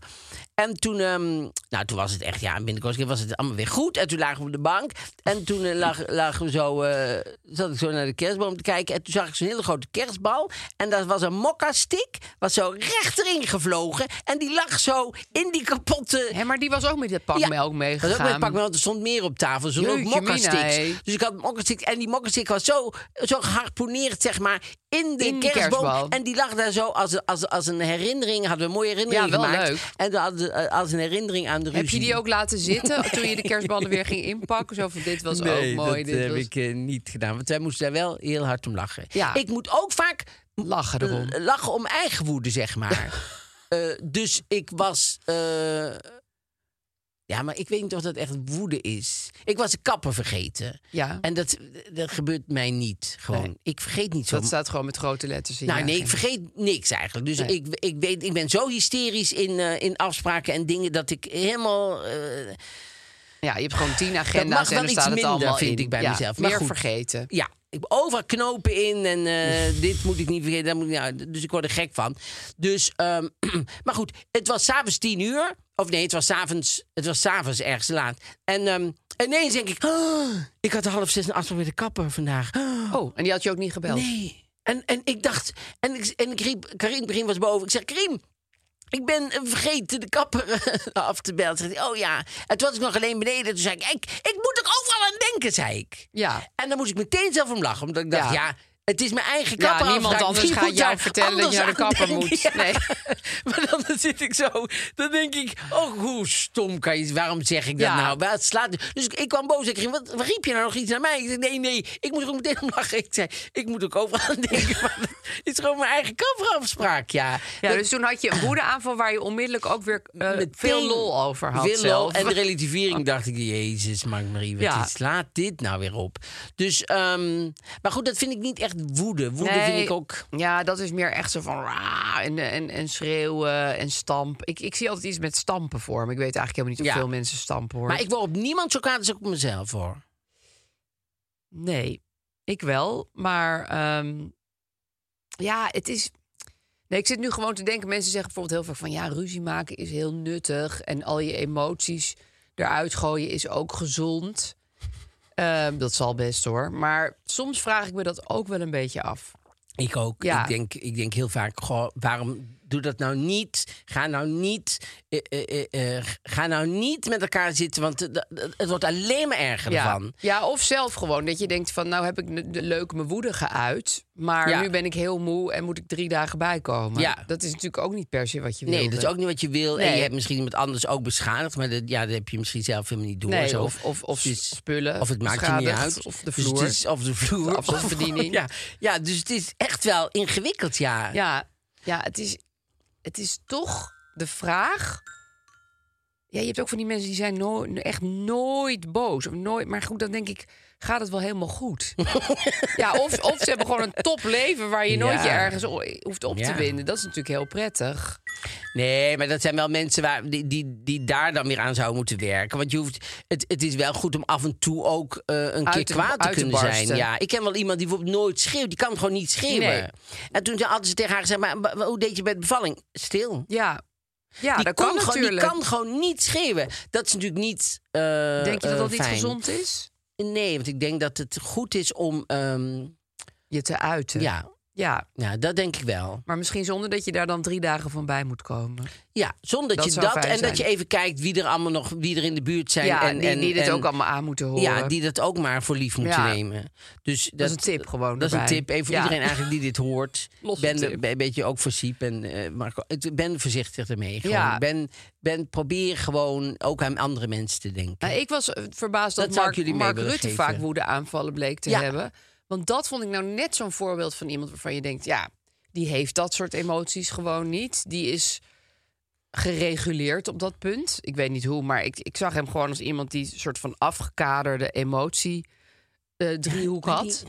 Speaker 1: En toen, ehm, nou, toen was het echt, ja, binnenkort was het allemaal weer goed. En toen lagen we op de bank. En toen eh, lag, lagen we zo, eh, zat ik zo naar de kerstboom te kijken. En toen zag ik zo'n hele grote kerstbal. En daar was een mokka-stick, was zo recht erin gevlogen. En die lag zo in die kapotte...
Speaker 3: Hé, maar die was ook met dat pak
Speaker 1: Ja, Dat
Speaker 3: melk
Speaker 1: was ook met
Speaker 3: meegegaan.
Speaker 1: pak melk, er stond meer op tafel. Zo'n
Speaker 3: Jeetje
Speaker 1: ook mokka-sticks.
Speaker 3: mina, hé.
Speaker 1: Dus ik had mokka-sticks. En die mokka-stick was zo, zo geharponeerd, zeg maar, in de
Speaker 3: In die
Speaker 1: kerstboom.
Speaker 3: kerstbal.
Speaker 1: En die lag daar zo als, als, als een herinnering. Hadden we een mooie herinnering
Speaker 3: Ja, wel
Speaker 1: gemaakt.
Speaker 3: leuk.
Speaker 1: En dan hadden, we, eh, als een herinnering aan de ruzie.
Speaker 3: Heb je die ook
Speaker 1: <laughs>
Speaker 3: laten zitten toen je de kerstballen weer ging inpakken? Zo van, dit was
Speaker 1: nee,
Speaker 3: ook mooi.
Speaker 1: dat
Speaker 3: Dit
Speaker 1: heb
Speaker 3: was...
Speaker 1: ik eh, niet gedaan. Want wij moesten daar wel heel hard om lachen.
Speaker 3: Ja.
Speaker 1: Ik moet ook vaak
Speaker 3: Lachen erom.
Speaker 1: l- lachen om eigen woede, zeg maar.
Speaker 3: <laughs>
Speaker 1: Eh, dus ik was... eh, ja, maar ik weet niet of dat echt woede is. Ik was de kapper vergeten.
Speaker 3: Ja.
Speaker 1: En dat, dat gebeurt mij niet. Gewoon.
Speaker 3: Nee.
Speaker 1: Ik vergeet niet zo
Speaker 3: Dat staat gewoon met grote letters in.
Speaker 1: nou,
Speaker 3: je
Speaker 1: nee, ik
Speaker 3: agenda.
Speaker 1: vergeet niks eigenlijk. Dus
Speaker 3: Nee.
Speaker 1: ik, ik, weet, ik ben zo hysterisch in, eh, in afspraken en dingen dat ik helemaal. eh,
Speaker 3: Ja, je hebt gewoon tien
Speaker 1: Dat mag
Speaker 3: agenda's
Speaker 1: wel
Speaker 3: en er
Speaker 1: iets
Speaker 3: staat het
Speaker 1: minder,
Speaker 3: allemaal
Speaker 1: vind
Speaker 3: in.
Speaker 1: ik bij
Speaker 3: Ja,
Speaker 1: mezelf. Maar
Speaker 3: Meer
Speaker 1: goed.
Speaker 3: vergeten.
Speaker 1: ja, ik overal knopen in en eh, dit moet ik niet vergeten. Dat moet ik, nou, dus ik word er gek van. Dus, ehm, <clears throat> maar goed, het was s'avonds tien uur. Of nee, het was s'avonds, het was s'avonds ergens laat. En ehm, ineens denk ik, <gasps> "Ah, ik had half zes een afspraak met de kapper vandaag. <gasps> Ah,
Speaker 3: Oh, en die had je ook niet gebeld?
Speaker 1: Nee. En, en ik dacht, en ik, en ik riep, Karim, Karim was boven. Ik zeg, Karim, ik ben eh, vergeten de kapper eh, <laughs> af te bellen. Zegt hij, oh ja. En toen was ik nog alleen beneden. Toen zei ik, ik, ik moet er overal aan denken, zei ik.
Speaker 3: Ja.
Speaker 1: En dan moest ik meteen zelf om lachen. Omdat ik dacht, ja,
Speaker 3: Ja.
Speaker 1: het is mijn eigen
Speaker 3: Ja,
Speaker 1: kapper.
Speaker 3: niemand
Speaker 1: afspraak.
Speaker 3: anders
Speaker 1: Wie
Speaker 3: gaat
Speaker 1: moet
Speaker 3: jou
Speaker 1: daar
Speaker 3: vertellen dat je
Speaker 1: anders
Speaker 3: naar de
Speaker 1: aan
Speaker 3: kapper
Speaker 1: denken?
Speaker 3: moet.
Speaker 1: Ja.
Speaker 3: Nee.
Speaker 1: <laughs> maar dan zit ik zo, dan denk ik, oh, hoe stom kan je, waarom zeg ik dat
Speaker 3: Ja.
Speaker 1: nou? Waar het slaat, dus ik, ik kwam boos. Ik ging, wat, wat riep je nou nog iets naar mij? Ik zei, nee, nee, ik moet er ook meteen om lachen. Ik zei, ik moet ook overal aan
Speaker 3: <laughs>
Speaker 1: denken. Maar dat is gewoon mijn eigen kapperafspraak, ja.
Speaker 3: Ja,
Speaker 1: Dat-
Speaker 3: dus toen had je een woedeaanval waar je onmiddellijk ook weer eh,
Speaker 1: meteen
Speaker 3: veel lol over had
Speaker 1: veel lol.
Speaker 3: zelf.
Speaker 1: En de relativering dacht ik, jezus, Mark Marie, wat
Speaker 3: Ja.
Speaker 1: is- slaat dit nou weer op? Dus, ehm, maar goed, dat vind ik niet echt woede. Woede
Speaker 3: Nee,
Speaker 1: vind ik ook...
Speaker 3: <laughs> Ja, dat is meer echt zo van raar en, en, en schreeuwen en stamp. Ik, ik zie altijd iets met stampen voor me. Ik weet eigenlijk helemaal niet
Speaker 1: Ja.
Speaker 3: hoeveel mensen stampen hoor.
Speaker 1: Maar ik word op niemand zo kwaad als op mezelf, hoor.
Speaker 3: Nee, ik wel. Maar ehm, ja, het is. Nee, ik zit nu gewoon te denken. Mensen zeggen bijvoorbeeld heel vaak van ja, ruzie maken is heel nuttig. En al je emoties eruit gooien is ook gezond. Ehm, dat zal best hoor. Maar soms vraag ik me dat ook wel een beetje af.
Speaker 1: Ik ook.
Speaker 3: Ja.
Speaker 1: Ik, denk, ik denk heel vaak, goh, waarom doe dat nou niet? Ga nou niet, eh, eh, eh, eh, ga nou niet met elkaar zitten, want eh, dat- dat- het wordt alleen maar erger
Speaker 3: Ja.
Speaker 1: ervan.
Speaker 3: ja, of zelf gewoon. Dat je denkt van nou heb ik ne- de- leuk mijn woede geuit. Maar
Speaker 1: Ja.
Speaker 3: nu ben ik heel moe en moet ik drie dagen bijkomen.
Speaker 1: Ja.
Speaker 3: Dat is natuurlijk ook niet per se wat je wil.
Speaker 1: Nee, dat is ook niet wat je wil. En je
Speaker 3: Nee.
Speaker 1: hebt misschien iemand anders ook beschadigd, maar dat, ja, dat heb je misschien zelf helemaal niet door.
Speaker 3: Nee,
Speaker 1: zo.
Speaker 3: of- of- of
Speaker 1: Dus het is-
Speaker 3: spullen
Speaker 1: Of het maakt je niet
Speaker 3: beschadigd,
Speaker 1: uit.
Speaker 3: of de
Speaker 1: Dus het
Speaker 3: vloer.
Speaker 1: is- of de vloer.
Speaker 3: De afstandsbediening.
Speaker 1: <laughs> ja. ja, dus het is echt wel ingewikkeld, ja.
Speaker 3: Ja, ja het, is, het is toch de vraag. Ja, je hebt ook van die mensen die zijn nooit, echt nooit boos. Of nooit, maar goed, dan denk ik, gaat het wel helemaal
Speaker 1: <laughs>
Speaker 3: goed? ja, of, of ze hebben gewoon een topleven waar je nooit
Speaker 1: Ja.
Speaker 3: je ergens o- hoeft op
Speaker 1: Ja.
Speaker 3: te winden. Dat is natuurlijk heel prettig.
Speaker 1: Nee, maar dat zijn wel mensen waar, die, die, die daar dan weer aan zouden moeten werken. Want je hoeft, het, het is wel goed om af en toe ook eh, een
Speaker 3: Uit
Speaker 1: keer
Speaker 3: te-
Speaker 1: kwaad te
Speaker 3: uit te
Speaker 1: kunnen zijn.
Speaker 3: barsten.
Speaker 1: Ja, ik ken wel iemand die bijvoorbeeld nooit schreeuwt. Die kan gewoon niet schreeuwen.
Speaker 3: Nee.
Speaker 1: En toen hadden ze tegen haar gezegd, maar wa- hoe deed je bij de bevalling? Stil.
Speaker 3: Ja, ja
Speaker 1: die,
Speaker 3: dat
Speaker 1: kon
Speaker 3: kan
Speaker 1: gewoon, die
Speaker 3: natuurlijk.
Speaker 1: kan gewoon niet schreeuwen. Dat is natuurlijk niet eh,
Speaker 3: denk je dat
Speaker 1: eh,
Speaker 3: dat niet
Speaker 1: fijn.
Speaker 3: gezond is?
Speaker 1: Nee, want ik denk dat het goed is om... ehm,
Speaker 3: je te uiten.
Speaker 1: Ja,
Speaker 3: ja.
Speaker 1: ja, dat denk ik wel.
Speaker 3: Maar misschien zonder dat je daar dan drie dagen van bij moet komen.
Speaker 1: Ja, zonder dat,
Speaker 3: Dat
Speaker 1: je
Speaker 3: zou
Speaker 1: dat en
Speaker 3: fijn
Speaker 1: dat je
Speaker 3: zijn.
Speaker 1: even kijkt wie er allemaal nog wie er in de buurt zijn.
Speaker 3: ja,
Speaker 1: en,
Speaker 3: die,
Speaker 1: en,
Speaker 3: die dit
Speaker 1: en-
Speaker 3: ook allemaal aan moeten horen.
Speaker 1: Ja, die dat ook maar voor lief moeten
Speaker 3: eh, Ja.
Speaker 1: nemen. Dus dat,
Speaker 3: is een tip gewoon
Speaker 1: Dat is
Speaker 3: erbij.
Speaker 1: een tip. Even voor
Speaker 3: Ja.
Speaker 1: iedereen eigenlijk die dit hoort.
Speaker 3: <laughs> Losse
Speaker 1: ben
Speaker 3: tip.
Speaker 1: er ben een beetje ook voor Siep en eh, Marco. het- Ben voorzichtig ermee. Gewoon.
Speaker 3: Ja.
Speaker 1: Ben, ben, probeer gewoon ook aan andere mensen te denken.
Speaker 3: Nou, ik was eh, verbaasd dat,
Speaker 1: Dat zou ik
Speaker 3: Mark,
Speaker 1: jullie mee
Speaker 3: Mark
Speaker 1: willen
Speaker 3: Rutte
Speaker 1: geven.
Speaker 3: vaak woedeaanvallen bleek te
Speaker 1: Ja.
Speaker 3: hebben. Want dat vond ik nou net zo'n voorbeeld van iemand waarvan je denkt... ja, die heeft dat soort emoties gewoon niet. Die is gereguleerd op dat punt. Ik weet niet hoe, maar ik, ik zag hem gewoon als iemand... die een soort van afgekaderde emotie eh, driehoek had.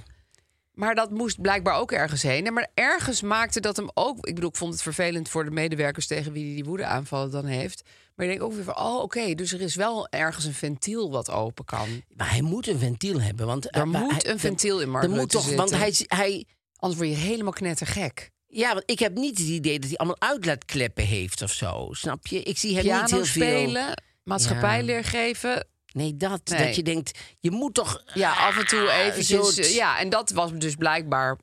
Speaker 3: Maar dat moest blijkbaar ook ergens heen. En Maar ergens maakte dat hem ook... Ik bedoel, ik vond het vervelend voor de medewerkers... tegen wie hij die woedeaanvallen dan heeft. Maar je denkt ook weer van... oh, oké, dus er is wel ergens een ventiel wat open kan.
Speaker 1: Maar hij moet een ventiel hebben. Want, eh,
Speaker 3: Er
Speaker 1: maar
Speaker 3: moet
Speaker 1: hij-
Speaker 3: een ventiel in Mark
Speaker 1: er moet
Speaker 3: Rutte
Speaker 1: toch, Want
Speaker 3: zitten.
Speaker 1: hij, hij,
Speaker 3: Anders word je helemaal knettergek.
Speaker 1: ja, want ik heb niet het idee dat hij allemaal uitlaatkleppen heeft of zo. Snap je? Ik zie hem niet
Speaker 3: Piano
Speaker 1: heel veel.
Speaker 3: spelen, maatschappijleer geven.
Speaker 1: Nee, dat.
Speaker 3: Nee.
Speaker 1: Dat je denkt, je moet toch...
Speaker 3: Ja, af en toe
Speaker 1: Ah,
Speaker 3: eventjes.
Speaker 1: soort-
Speaker 3: eh, Ja, en dat was dus blijkbaar... <laughs>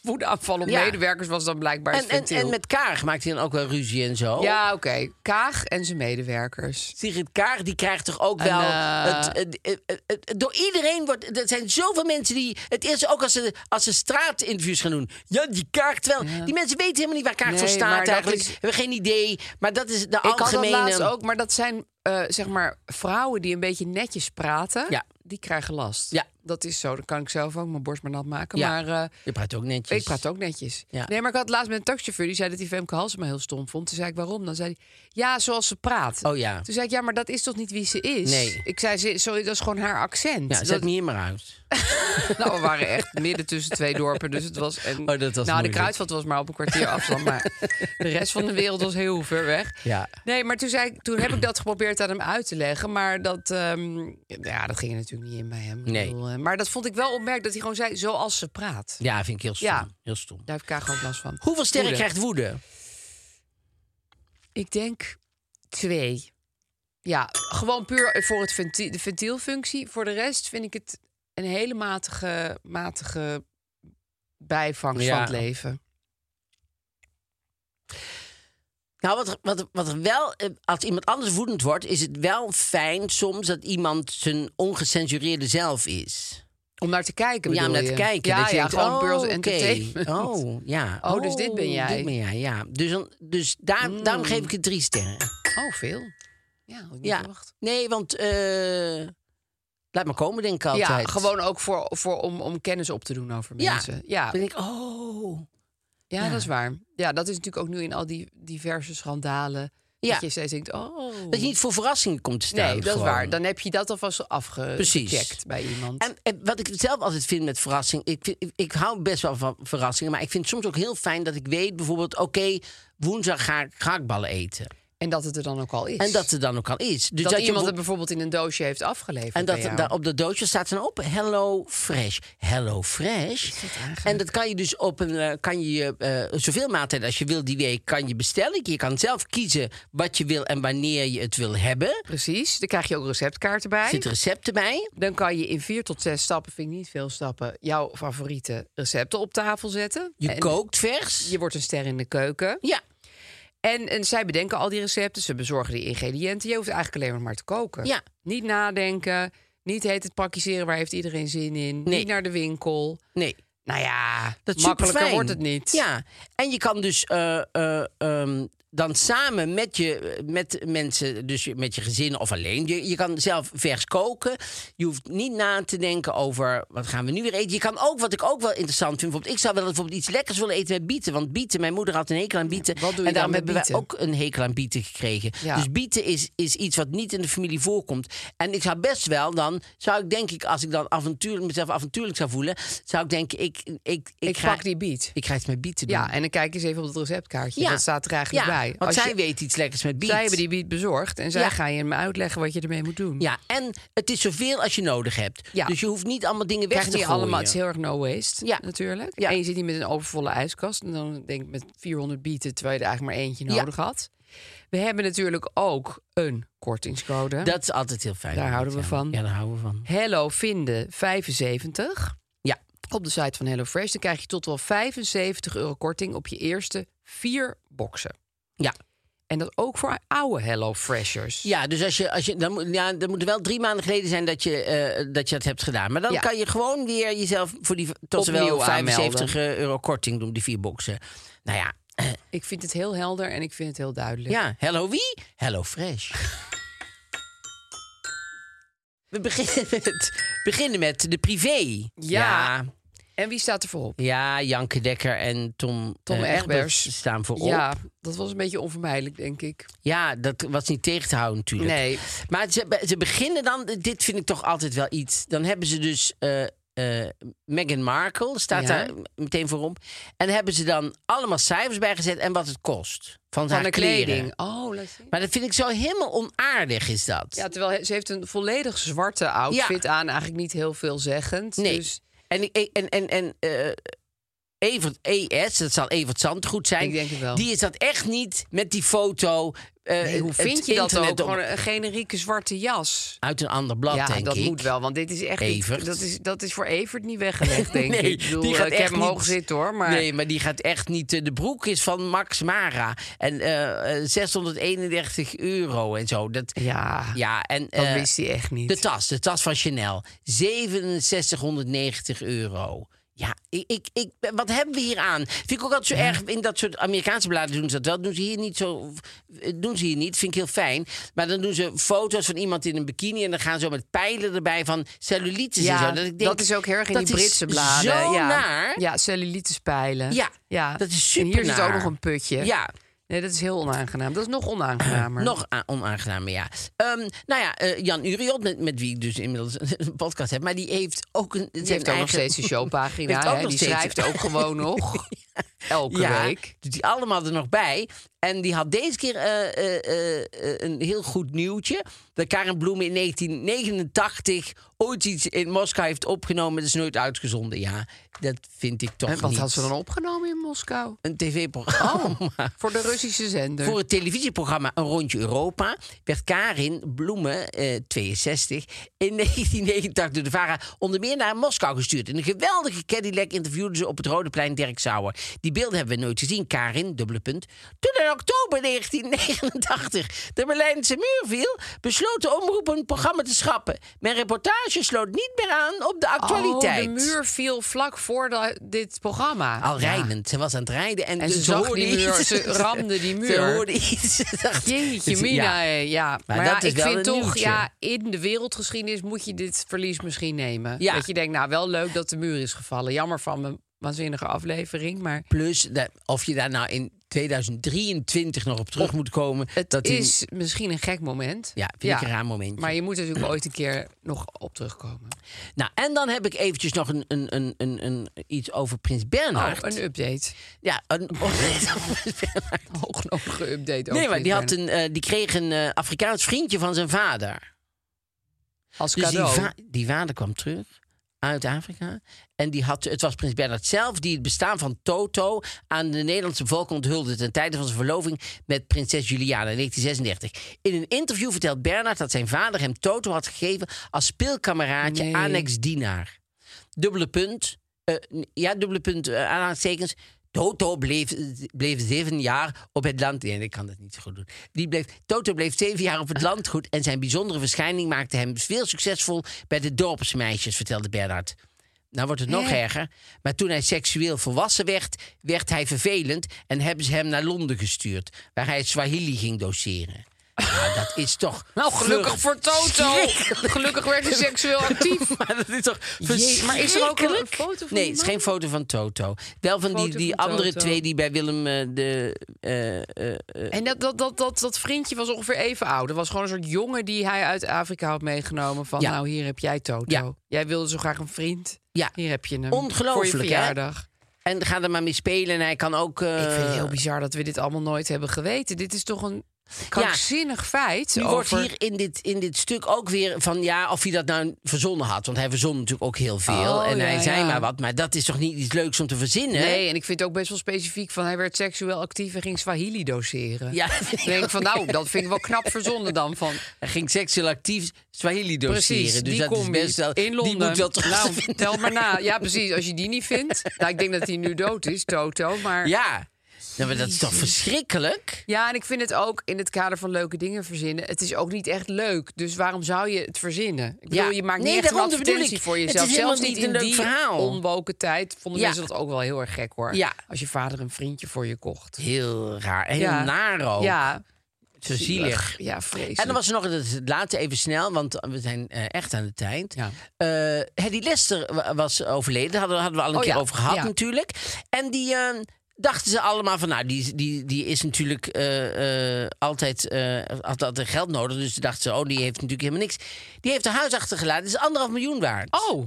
Speaker 3: De woedeaanval op
Speaker 1: Ja.
Speaker 3: medewerkers was dan blijkbaar het
Speaker 1: En, en,
Speaker 3: ventiel.
Speaker 1: en met oh. Kaag maakt hij dan ook wel ruzie en zo.
Speaker 3: Ja, oké. Kaag en zijn medewerkers.
Speaker 1: Sigrid Kaag, die krijgt toch ook
Speaker 3: En,
Speaker 1: wel...
Speaker 3: eh,
Speaker 1: het, het- het- het- het- door iedereen wordt... Er zijn zoveel mensen die... Het is ook als ze, als ze straatinterviews gaan doen. Ja, die Kaag wel... Die mensen weten helemaal niet waar Kaag
Speaker 3: Nee,
Speaker 1: voor
Speaker 3: maar
Speaker 1: staat
Speaker 3: dat
Speaker 1: eigenlijk.
Speaker 3: is-
Speaker 1: Hebben geen idee. Maar dat is de
Speaker 3: Ik had dat
Speaker 1: algemene...
Speaker 3: laatst ook, maar dat zijn eh, zeg maar vrouwen die een beetje netjes praten.
Speaker 1: Ja.
Speaker 3: Die krijgen last.
Speaker 1: Ja.
Speaker 3: Dat is zo. Dan kan ik zelf ook mijn borst maar nat maken.
Speaker 1: Ja.
Speaker 3: Maar eh,
Speaker 1: Je praat ook netjes.
Speaker 3: ik praat ook netjes.
Speaker 1: Ja.
Speaker 3: Nee, maar ik had laatst met een taxichauffeur. Die zei dat hij Femke Halsema heel stom vond. Toen zei ik waarom. Dan zei hij, ja, zoals ze praat.
Speaker 1: Oh ja.
Speaker 3: Toen zei ik, ja, maar dat is toch niet wie ze is?
Speaker 1: Nee.
Speaker 3: Ik zei, ze, zo, dat is gewoon haar accent.
Speaker 1: Ja, zet
Speaker 3: dat,
Speaker 1: me hier maar uit.
Speaker 3: <laughs> nou, we waren echt midden tussen twee dorpen, dus het was... En,
Speaker 1: Oh, dat was
Speaker 3: nou,
Speaker 1: moeilijk.
Speaker 3: de Kruidvat was maar op een kwartier afstand, maar de rest van de wereld was heel ver weg.
Speaker 1: Ja.
Speaker 3: Nee, maar toen, zei ik, toen heb ik dat geprobeerd aan hem uit te leggen, maar dat, ehm, ja, dat ging er natuurlijk niet in bij hem. Ik
Speaker 1: Nee.
Speaker 3: bedoel, eh, maar dat vond ik wel opmerkelijk, dat hij gewoon zei, zoals ze praat.
Speaker 1: Ja, vind ik heel stom.
Speaker 3: Ja.
Speaker 1: Heel stom.
Speaker 3: Daar heb ik ook last van.
Speaker 1: Hoeveel sterren
Speaker 3: Woede.
Speaker 1: krijgt woede?
Speaker 3: Ik denk twee. Ja, gewoon puur voor het venti- de ventielfunctie. Voor de rest vind ik het een hele matige, matige bijvangst
Speaker 1: Ja.
Speaker 3: van het leven.
Speaker 1: Nou, wat, er- wat, er- wat er wel, eh, als iemand anders woedend wordt, is het wel fijn soms dat iemand zijn ongecensureerde zelf is.
Speaker 3: Om naar te kijken.
Speaker 1: Ja, om
Speaker 3: bedoel
Speaker 1: naar te
Speaker 3: je?
Speaker 1: kijken.
Speaker 3: Ja,
Speaker 1: dat je
Speaker 3: ja
Speaker 1: denkt,
Speaker 3: gewoon
Speaker 1: oh,
Speaker 3: Pearls
Speaker 1: oké.
Speaker 3: Entertainment.
Speaker 1: Oh, ja.
Speaker 3: Oh, dus dit ben jij. Mm.
Speaker 1: Dit ben jij, ja. Dus, dan- dus daar, daarom geef ik het drie sterren.
Speaker 3: Oh, veel. Ja, had ik niet
Speaker 1: Ja.
Speaker 3: verwacht.
Speaker 1: Nee, want eh, laat maar komen, denk ik altijd.
Speaker 3: Ja, gewoon ook voor, voor om, om kennis op te doen over
Speaker 1: Ja.
Speaker 3: mensen. Ja,
Speaker 1: Dan denk ik, oh.
Speaker 3: ja, dat is waar. Ja, dat is natuurlijk ook nu in al die diverse schandalen.
Speaker 1: Ja.
Speaker 3: Dat je steeds denkt, oh.
Speaker 1: Dat je niet voor verrassingen komt te staan.
Speaker 3: Nee, dat is
Speaker 1: gewoon.
Speaker 3: waar. Dan heb je dat alvast
Speaker 1: Precies.
Speaker 3: afgecheckt bij iemand.
Speaker 1: En, en wat ik zelf altijd vind met verrassing, ik, vind- ik, ik hou best wel van verrassingen, maar ik vind het soms ook heel fijn dat ik weet bijvoorbeeld, oké, woensdag ga ik gehaktballen eten.
Speaker 3: En dat het er dan ook al is.
Speaker 1: En dat er dan ook al is. Dus
Speaker 3: dat,
Speaker 1: dat je
Speaker 3: iemand
Speaker 1: wo-
Speaker 3: het bijvoorbeeld in een doosje heeft afgeleverd.
Speaker 1: en dat
Speaker 3: bij jou.
Speaker 1: daar op dat doosje staat dan op Hello Fresh. Hello Fresh. En dat kan je dus op een eh, kan je eh, zoveel maaltijden als je wil die week kan je bestellen. Je kan zelf kiezen wat je wil en wanneer je het wil hebben. Er
Speaker 3: Precies, dan krijg je ook receptkaarten bij.
Speaker 1: zitten recepten bij.
Speaker 3: Dan kan je in vier tot zes stappen, vind ik niet veel stappen, jouw favoriete recepten op tafel zetten.
Speaker 1: Je
Speaker 3: En
Speaker 1: kookt vers.
Speaker 3: Je wordt een ster in de keuken.
Speaker 1: Ja.
Speaker 3: En, en zij bedenken al die recepten, ze bezorgen die ingrediënten. Je hoeft eigenlijk alleen maar maar te koken.
Speaker 1: Ja.
Speaker 3: Niet nadenken, niet heet het praktiseren, waar heeft iedereen zin in?
Speaker 1: Nee.
Speaker 3: Niet naar de winkel.
Speaker 1: Nee.
Speaker 3: Nou ja,
Speaker 1: Dat is
Speaker 3: makkelijker
Speaker 1: superfijn.
Speaker 3: wordt het niet.
Speaker 1: Ja, en je kan dus eh, eh, ehm, dan samen met je met mensen, dus je- met je gezin of alleen. Je, je kan zelf vers koken. Je hoeft niet na te denken over wat gaan we nu weer eten. Je kan ook, wat ik ook wel interessant vind, bijvoorbeeld, ik zou wel bijvoorbeeld iets lekkers willen eten met bieten. Want bieten, mijn moeder had een hekel aan bieten.
Speaker 3: wat doe je
Speaker 1: en
Speaker 3: dan
Speaker 1: daarom
Speaker 3: met
Speaker 1: hebben wij
Speaker 3: bieten?
Speaker 1: ook een hekel aan bieten gekregen.
Speaker 3: Ja.
Speaker 1: Dus bieten is, is iets wat niet in de familie voorkomt. En ik zou best wel dan, zou ik denk ik, als ik dan avontuurlijk, mezelf avontuurlijk zou voelen, zou ik denken, ik, ik, ik,
Speaker 3: Ik,
Speaker 1: ga-
Speaker 3: pak die biet.
Speaker 1: ik ga iets met biet te doen.
Speaker 3: Ja, en dan kijk eens even op het receptkaartje. Dat staat er eigenlijk
Speaker 1: Ja,
Speaker 3: bij.
Speaker 1: Want zij weet iets lekkers met biet.
Speaker 3: Zij hebben die biet bezorgd en zij
Speaker 1: Ja.
Speaker 3: gaan je hem uitleggen wat je ermee moet doen.
Speaker 1: Ja, en het is zoveel als je nodig hebt.
Speaker 3: Ja.
Speaker 1: Dus je hoeft niet allemaal dingen weg
Speaker 3: Krijg je
Speaker 1: te
Speaker 3: niet
Speaker 1: gooien.
Speaker 3: allemaal, het is heel erg no waste
Speaker 1: Ja.
Speaker 3: natuurlijk.
Speaker 1: Ja.
Speaker 3: En je zit niet met een overvolle ijskast en dan denk ik met 400 bieten terwijl je er eigenlijk maar eentje
Speaker 1: Ja.
Speaker 3: nodig had. We hebben natuurlijk ook een kortingscode.
Speaker 1: Dat is altijd heel fijn.
Speaker 3: Daar houden we
Speaker 1: Ja.
Speaker 3: van.
Speaker 1: Ja, daar houden we van.
Speaker 3: Hello vinden 75.
Speaker 1: Ja.
Speaker 3: op de site van HelloFresh. Dan krijg je tot wel 75 euro korting op je eerste vier boxen.
Speaker 1: Ja.
Speaker 3: En dat ook voor oude HelloFreshers.
Speaker 1: Ja, dus als je, als je, dan, moet- ja, dan moet het wel drie maanden geleden zijn dat je, eh, dat, je dat hebt gedaan. Maar dan
Speaker 3: Ja.
Speaker 1: kan je gewoon weer jezelf voor die tot
Speaker 3: Opnieuw
Speaker 1: wel 75
Speaker 3: aanmelden.
Speaker 1: euro korting doen, die vier boxen. Nou ja,
Speaker 3: Ik vind het heel helder en ik vind het heel duidelijk.
Speaker 1: ja hello wie? Hello fresh. We beginnen met, beginnen met de privé.
Speaker 3: Ja. En wie staat er voor op?
Speaker 1: Ja, Janke Dekker en Tom,
Speaker 3: Tom
Speaker 1: eh,
Speaker 3: Egberts.
Speaker 1: staan voor
Speaker 3: Ja,
Speaker 1: op.
Speaker 3: dat was een beetje onvermijdelijk, denk ik.
Speaker 1: Ja, dat was niet tegen te houden natuurlijk.
Speaker 3: Nee.
Speaker 1: Maar ze, be- ze beginnen dan, dit vind ik toch altijd wel iets. Dan hebben ze dus eh eh, Meghan Markle, staat
Speaker 3: Ja.
Speaker 1: daar meteen voor op. En hebben ze dan allemaal cijfers bijgezet en wat het kost. Van,
Speaker 3: Van
Speaker 1: haar
Speaker 3: de
Speaker 1: kleren.
Speaker 3: kleding. Oh, laat zien.
Speaker 1: Maar dat vind ik zo helemaal onaardig is dat.
Speaker 3: Ja, terwijl he- ze heeft een volledig zwarte outfit aan. Eigenlijk niet heel veelzeggend.
Speaker 1: nee.
Speaker 3: Dus
Speaker 1: En, ik- en, en, en eh, Evert ES, dat zal Evert Zandgoed zijn.
Speaker 3: Ik denk het wel.
Speaker 1: Die is dat echt niet met die foto. eh,
Speaker 3: nee, hoe
Speaker 1: het
Speaker 3: vind je dat ook?
Speaker 1: internet op-
Speaker 3: Gewoon een generieke zwarte jas.
Speaker 1: Uit een ander blad,
Speaker 3: ja,
Speaker 1: denk
Speaker 3: dat
Speaker 1: ik.
Speaker 3: moet wel, want dit is echt niet-
Speaker 1: Evert.
Speaker 3: dat, is, dat is voor Evert niet
Speaker 1: <laughs>
Speaker 3: weggelegd, denk
Speaker 1: nee,
Speaker 3: ik. Ik bedoel, eh,
Speaker 1: die gaat
Speaker 3: ik
Speaker 1: echt
Speaker 3: heb hem
Speaker 1: niet-
Speaker 3: hoog zitten, hoor. Maar
Speaker 1: Nee, maar die gaat echt niet. eh, De broek is van Max Mara. En eh, eh, 631 euro en zo. Dat,
Speaker 3: ja,
Speaker 1: ja, en,
Speaker 3: dat
Speaker 1: eh,
Speaker 3: wist hij echt niet.
Speaker 1: De tas, de tas van Chanel. 6790 euro. Ja, ik, ik, ik, wat hebben we hier aan? Vind ik ook altijd zo erg. In dat soort Amerikaanse bladen doen ze dat wel. Doen ze hier niet zo. eh, Doen ze hier niet. Vind ik heel fijn. Maar dan doen ze foto's van iemand in een bikini. En dan gaan ze zo met pijlen erbij van cellulitis en
Speaker 3: ja,
Speaker 1: zo. Dat, ik denk,
Speaker 3: dat is ook heel erg in
Speaker 1: dat
Speaker 3: die
Speaker 1: is
Speaker 3: Britse bladen.
Speaker 1: Zo
Speaker 3: ja.
Speaker 1: naar.
Speaker 3: ja, cellulitespijlen.
Speaker 1: Ja, dat is
Speaker 3: En hier zit
Speaker 1: supernaar.
Speaker 3: ook nog een putje.
Speaker 1: Ja.
Speaker 3: Nee, dat is heel onaangenaam. Dat is nog onaangenamer.
Speaker 1: Nog a- onaangenamer, ja. Ehm, nou ja, eh, Jan Uriot, met, met wie ik dus inmiddels <laughs> een, podcast heb... maar die heeft ook een...
Speaker 3: Ze heeft ook nog
Speaker 1: <laughs>
Speaker 3: steeds een showpagina. <laughs>
Speaker 1: Heeft ook
Speaker 3: hè?
Speaker 1: nog
Speaker 3: Die
Speaker 1: steeds-
Speaker 3: schrijft ook <laughs> gewoon nog. Elke
Speaker 1: ja,
Speaker 3: week.
Speaker 1: doet die allemaal er nog bij. En die had deze keer eh, eh, eh, eh, een heel goed nieuwtje. Dat Karen Bloemen in 1989 ooit iets in Moskou heeft opgenomen. Dat is nooit uitgezonden, ja. Dat vind ik toch
Speaker 3: En wat
Speaker 1: niet.
Speaker 3: had ze dan Oh. opgenomen in Moskou?
Speaker 1: Een tv-programma.
Speaker 3: <laughs> Voor de Russische zender.
Speaker 1: Voor het televisieprogramma Een Rondje Europa werd Karin Bloemen, eh, 62, in <laughs> 1989 door de VARA onder meer naar Moskou gestuurd. In een geweldige Cadillac interviewde ze op het Rode Plein Dirk Sauer. Die beelden hebben we nooit gezien, Karin, dubbele punt. Toen in oktober 1989 de Berlijnse muur viel, besloot de omroep een programma te schrappen. Mijn reportage sloot niet meer aan op de actualiteit.
Speaker 3: Oh, de muur viel vlak voor de- dit programma.
Speaker 1: Al
Speaker 3: Ja.
Speaker 1: rijdend. Ze was aan het rijden en,
Speaker 3: En ze zag
Speaker 1: hoorde
Speaker 3: die muur,
Speaker 1: iets.
Speaker 3: <laughs> ze ramde
Speaker 1: <laughs>
Speaker 3: die
Speaker 1: Ze
Speaker 3: muur.
Speaker 1: hoorde iets. Ze dacht-
Speaker 3: Jeetje,
Speaker 1: Dus,
Speaker 3: Mina.
Speaker 1: ja.
Speaker 3: hè, Ja. Maar,
Speaker 1: dat
Speaker 3: ja,
Speaker 1: is
Speaker 3: ik
Speaker 1: wel
Speaker 3: vind
Speaker 1: een
Speaker 3: toch,
Speaker 1: nieuwtje.
Speaker 3: ja, in de wereldgeschiedenis moet je dit verlies misschien nemen.
Speaker 1: Ja.
Speaker 3: Dat je denkt, nou wel leuk dat de muur is gevallen. Jammer van mijn waanzinnige aflevering, maar
Speaker 1: Plus, dat- of je daar nou in 2023 nog op terug moet komen.
Speaker 3: het
Speaker 1: dat in-
Speaker 3: is misschien een gek moment.
Speaker 1: Ja, vind ik een raar momentje.
Speaker 3: Maar je moet er natuurlijk ooit een keer nog op terugkomen.
Speaker 1: Nou, en dan heb ik eventjes nog een, een, een, een, een, iets over Prins Bernhard.
Speaker 3: Nou, Oh, een Oh, update.
Speaker 1: Ja,
Speaker 3: <laughs>
Speaker 1: een... Oh, <laughs>
Speaker 3: Hoognodige update.
Speaker 1: Nee,
Speaker 3: ook,
Speaker 1: maar die, had
Speaker 3: Frits
Speaker 1: een, eh, die kreeg een eh, Afrikaans vriendje van zijn vader.
Speaker 3: Bernhard. als
Speaker 1: Dus die,
Speaker 3: cadeau.
Speaker 1: va- die vader kwam terug uit Afrika. En die had, het was prins Bernhard zelf die het bestaan van Toto aan de Nederlandse volk onthulde ten tijde van zijn verloving met prinses Juliana in 1936. In een interview vertelt Bernhard dat zijn vader hem Toto had gegeven als speelkameraadje
Speaker 3: Nee.
Speaker 1: annex dienaar. Dubbele punt, eh, n- ja, dubbele punt, eh, aanhalingstekens. Toto bleef, bleef zeven jaar op het land. Nee, ik kan dat niet zo goed doen. Die bleef, Toto bleef zeven jaar op het landgoed. En zijn bijzondere verschijning maakte hem veel succesvol bij de dorpsmeisjes, vertelde Bernhard. Nou wordt het nog erger. Maar toen hij seksueel volwassen werd, werd hij vervelend. En hebben ze hem naar Londen gestuurd, waar hij Swahili ging doseren. Nou, dat is toch.
Speaker 3: Nou, gelukkig voor <laughs> Toto. Gelukkig werd hij seksueel
Speaker 1: <laughs>
Speaker 3: actief.
Speaker 1: Maar dat is toch
Speaker 3: Jee, maar is er ook wel een
Speaker 1: verschrikkelijk?
Speaker 3: foto van
Speaker 1: Nee,
Speaker 3: die
Speaker 1: het is
Speaker 3: man?
Speaker 1: geen foto van Toto. Wel van die,
Speaker 3: Foto
Speaker 1: die
Speaker 3: van
Speaker 1: andere
Speaker 3: Toto.
Speaker 1: twee die bij Willem eh, de... eh, eh,
Speaker 3: En dat, dat, dat, dat, dat vriendje was ongeveer even oud. Dat was gewoon een soort jongen die hij uit Afrika had meegenomen. Van
Speaker 1: Ja.
Speaker 3: nou, hier heb jij Toto.
Speaker 1: Ja.
Speaker 3: Jij wilde zo graag een vriend.
Speaker 1: ja,
Speaker 3: Hier heb je hem.
Speaker 1: Ongelooflijk,
Speaker 3: Voor
Speaker 1: hè?
Speaker 3: je verjaardag.
Speaker 1: en ga er maar mee spelen en hij kan ook... eh,
Speaker 3: Ik vind het heel bizar dat we dit allemaal nooit hebben geweten. Dit is toch een Krankzinnig feit.
Speaker 1: Nu
Speaker 3: over...
Speaker 1: wordt hier in dit, in dit stuk ook weer van ja, of hij dat nou verzonnen had. Want hij verzon natuurlijk ook heel veel.
Speaker 3: Oh,
Speaker 1: en
Speaker 3: ja,
Speaker 1: hij zei
Speaker 3: ja.
Speaker 1: maar wat, maar dat is toch niet iets leuks om te verzinnen?
Speaker 3: Nee, en ik vind het ook best wel specifiek van hij werd seksueel actief en ging Swahili doseren. <laughs>
Speaker 1: Ja,
Speaker 3: Ik denk van nou, dat vind ik wel knap verzonnen dan van.
Speaker 1: Hij ging seksueel actief Swahili doseren.
Speaker 3: Precies,
Speaker 1: dus
Speaker 3: die
Speaker 1: dat
Speaker 3: combi
Speaker 1: is best wel.
Speaker 3: in Londen.
Speaker 1: Die moet wel terug <laughs> te
Speaker 3: nou,
Speaker 1: vinden
Speaker 3: tel maar
Speaker 1: zijn.
Speaker 3: na. Ja, precies. Als je die niet vindt.
Speaker 1: <laughs>
Speaker 3: Nou, ik denk dat hij nu dood is, Toto. Maar
Speaker 1: Ja. Nou, maar dat is toch verschrikkelijk?
Speaker 3: Ja, en ik vind het ook in het kader van leuke dingen verzinnen. Het is ook niet echt leuk. Dus waarom zou je het verzinnen? Ik bedoel,
Speaker 1: Ja.
Speaker 3: je maakt
Speaker 1: Nee,
Speaker 3: niet echt een
Speaker 1: daarom, dat bedoel
Speaker 3: advertentie
Speaker 1: ik.
Speaker 3: voor
Speaker 1: Het is
Speaker 3: jezelf.
Speaker 1: helemaal
Speaker 3: Zelfs niet
Speaker 1: niet
Speaker 3: in
Speaker 1: een leuk
Speaker 3: die
Speaker 1: verhaal.
Speaker 3: onwoken tijd vonden
Speaker 1: Ja.
Speaker 3: mensen dat ook wel heel erg gek, hoor.
Speaker 1: Ja.
Speaker 3: Als je vader een vriendje voor je kocht.
Speaker 1: Heel raar. en Heel
Speaker 3: Ja.
Speaker 1: naar ook.
Speaker 3: Ja,
Speaker 1: Zo zielig.
Speaker 3: Ja, vreselijk.
Speaker 1: En dan was er nog, dat is het laatste even snel, want we zijn eh, echt aan de tijd.
Speaker 3: Ja.
Speaker 1: Eh, Hedy Lester wa- was overleden, daar hadden, we- hadden we al een
Speaker 3: Oh
Speaker 1: keer
Speaker 3: ja,
Speaker 1: over gehad
Speaker 3: ja.
Speaker 1: natuurlijk. En die eh, dachten ze allemaal van, nou, die, die, die is natuurlijk eh, eh, altijd, eh, had altijd geld nodig. Dus ze dachten ze, oh, die heeft natuurlijk helemaal niks. Die heeft haar huis achtergelaten, dat is anderhalf miljoen waard.
Speaker 3: Oh,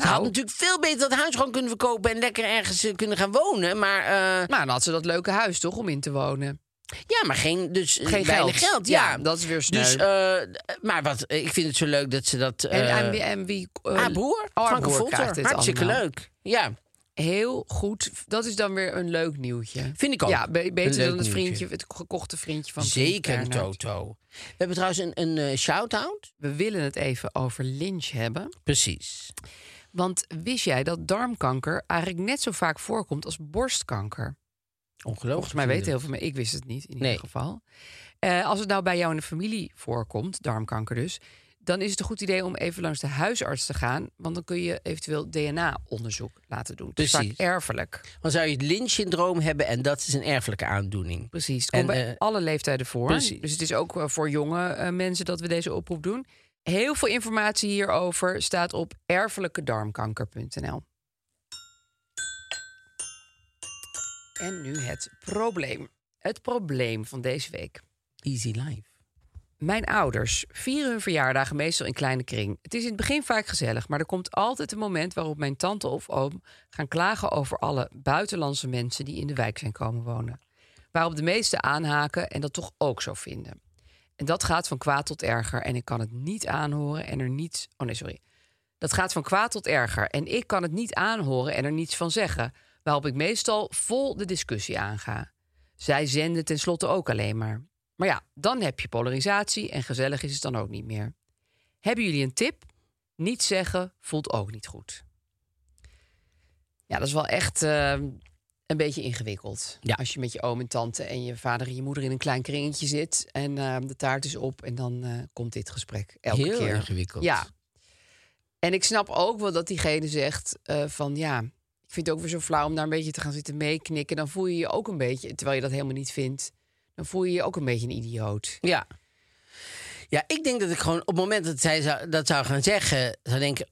Speaker 1: ze had natuurlijk veel beter dat huis gewoon kunnen verkopen en lekker ergens eh, kunnen gaan wonen. Maar eh,
Speaker 3: nou, dan had ze dat leuke huis toch om in te wonen.
Speaker 1: Ja, maar geen, dus eh,
Speaker 3: Geen
Speaker 1: weinig
Speaker 3: geld.
Speaker 1: geld. ja.
Speaker 3: Ja, dat is weer sneu.
Speaker 1: Dus, eh, maar wat, eh, ik vind het zo leuk dat ze dat...
Speaker 3: En,
Speaker 1: eh,
Speaker 3: en wie... En wie eh,
Speaker 1: haar broer,
Speaker 3: haar
Speaker 1: Franke
Speaker 3: broer
Speaker 1: Volter.
Speaker 3: krijgt dit
Speaker 1: Hartstikke
Speaker 3: allemaal.
Speaker 1: leuk. Ja,
Speaker 3: Heel goed. Dat is dan weer een leuk nieuwtje.
Speaker 1: Vind ik ook.
Speaker 3: Ja, be-
Speaker 1: Een
Speaker 3: beter
Speaker 1: leuk
Speaker 3: dan het, vriendje,
Speaker 1: nieuwtje.
Speaker 3: het gekochte vriendje van vriend
Speaker 1: zeker een
Speaker 3: Bernhard.
Speaker 1: Toto. We hebben trouwens een, een eh, shout-out.
Speaker 3: We willen het even over Lynch hebben.
Speaker 1: Precies.
Speaker 3: Want wist jij dat darmkanker eigenlijk net zo vaak voorkomt als borstkanker?
Speaker 1: Ongelooflijk.
Speaker 3: Volgens mij weten heel veel mensen, ik wist het niet in ieder
Speaker 1: Nee.
Speaker 3: geval. Eh, als het nou bij jou in de familie voorkomt, darmkanker dus, dan is het een goed idee om even langs de huisarts te gaan. Want dan kun je eventueel DNA-onderzoek laten doen. Het is vaak
Speaker 1: Precies.
Speaker 3: erfelijk.
Speaker 1: Dan zou je het Lynch-syndroom hebben en dat is een erfelijke aandoening.
Speaker 3: Precies. Het
Speaker 1: En,
Speaker 3: komt bij
Speaker 1: eh,
Speaker 3: alle leeftijden voor.
Speaker 1: precies.
Speaker 3: Dus het is ook eh, voor jonge eh, mensen dat we deze oproep doen. Heel veel informatie hierover staat op erfelijkedarmkanker.nl. En nu het probleem. Het probleem van deze week.
Speaker 1: Easy life.
Speaker 3: Mijn ouders vieren hun verjaardagen meestal in kleine kring. Het is in het begin vaak gezellig, maar er komt altijd een moment waarop mijn tante of oom gaan klagen over alle buitenlandse mensen die in de wijk zijn komen wonen. Waarop de meesten aanhaken en dat toch ook zo vinden. En dat gaat van kwaad tot erger en ik kan het niet aanhoren en er niets. Oh nee, sorry. Dat gaat van kwaad tot erger en ik kan het niet aanhoren en er niets van zeggen. Waarop ik meestal vol de discussie aanga. Zij zenden tenslotte ook alleen maar. Maar ja, dan heb je polarisatie en gezellig is het dan ook niet meer. Hebben jullie een tip? Niet zeggen voelt ook niet goed. Ja, dat is wel echt eh, een beetje ingewikkeld.
Speaker 1: Ja.
Speaker 3: Als je met je oom en tante en je vader en je moeder in een klein kringetje zit en eh, de taart is op en dan eh, komt dit gesprek elke
Speaker 1: heel
Speaker 3: keer.
Speaker 1: ingewikkeld.
Speaker 3: Ja. En ik snap ook wel dat diegene zegt eh, van ja, ik vind het ook weer zo flauw om daar een beetje te gaan zitten meeknikken. Dan voel je je ook een beetje, terwijl je dat helemaal niet vindt, dan voel je je ook een beetje een idioot.
Speaker 1: Ja. Ja, ik denk dat ik gewoon op het moment dat zij zou, dat zou gaan zeggen, zou denken,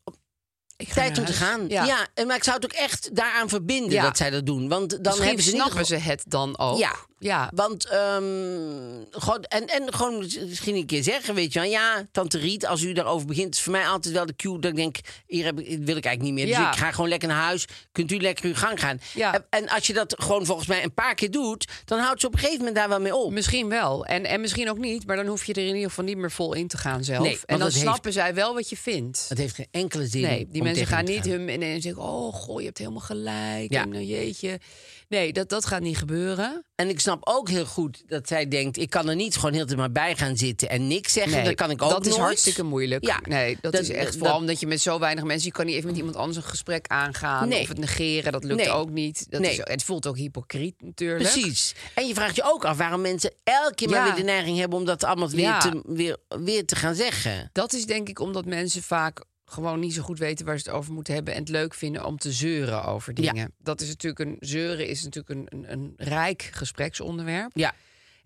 Speaker 3: Ik ga
Speaker 1: tijd
Speaker 3: naar
Speaker 1: om te
Speaker 3: huis.
Speaker 1: gaan.
Speaker 3: Ja.
Speaker 1: Ja. en maar ik zou het ook echt daaraan verbinden
Speaker 3: Ja.
Speaker 1: dat zij dat doen. Want dan
Speaker 3: dan
Speaker 1: hebben ze niet
Speaker 3: snappen ze het dan ook.
Speaker 1: Ja.
Speaker 3: ja.
Speaker 1: Want, ehm, gewoon, en, en gewoon misschien een keer zeggen, weet je wel. Ja, tante Riet, als u daarover begint, is voor mij altijd wel de cue dat ik denk, hier heb ik, dit wil ik eigenlijk niet meer.
Speaker 3: Ja.
Speaker 1: Dus ik ga gewoon lekker naar huis. Kunt u lekker uw gang gaan.
Speaker 3: Ja.
Speaker 1: En, en als je dat gewoon volgens mij een paar keer doet, dan houdt ze op een gegeven moment daar wel mee op.
Speaker 3: Misschien wel. En, en misschien ook niet, maar dan hoef je er in ieder geval niet meer vol in te gaan zelf.
Speaker 1: Nee,
Speaker 3: en
Speaker 1: want
Speaker 3: dan
Speaker 1: dat heeft-
Speaker 3: snappen zij wel wat je vindt.
Speaker 1: Het heeft geen enkele zin.
Speaker 3: Nee, die
Speaker 1: om
Speaker 3: mensen
Speaker 1: tegen
Speaker 3: gaan
Speaker 1: te
Speaker 3: niet
Speaker 1: gaan.
Speaker 3: hun en zeggen: Oh, goh, je hebt helemaal gelijk.
Speaker 1: Ja.
Speaker 3: En eh, jeetje. Nee, dat, dat gaat niet gebeuren.
Speaker 1: En ik snap ook heel goed dat zij denkt... ik kan er niet gewoon heel de tijd maar bij gaan zitten en niks zeggen.
Speaker 3: Nee,
Speaker 1: dat kan ik ook
Speaker 3: Dat is
Speaker 1: nooit.
Speaker 3: hartstikke moeilijk.
Speaker 1: Ja.
Speaker 3: nee, dat,
Speaker 1: Dat-
Speaker 3: is echt
Speaker 1: dat-
Speaker 3: vooral omdat je met zo weinig mensen... je kan niet even met iemand anders een gesprek aangaan...
Speaker 1: Nee.
Speaker 3: of het negeren, dat lukt
Speaker 1: Nee.
Speaker 3: ook niet. Dat
Speaker 1: Nee.
Speaker 3: is, het voelt ook hypocriet natuurlijk.
Speaker 1: Precies. En je vraagt je ook af waarom mensen elke keer maar
Speaker 3: Ja.
Speaker 1: weer de neiging hebben... om dat allemaal weer,
Speaker 3: Ja.
Speaker 1: te, weer, weer te gaan zeggen.
Speaker 3: Dat is denk ik omdat mensen vaak gewoon niet zo goed weten waar ze het over moeten hebben... en het leuk vinden om te zeuren over dingen. Dat is natuurlijk een... Zeuren is natuurlijk een, een, een rijk gespreksonderwerp.
Speaker 1: Ja.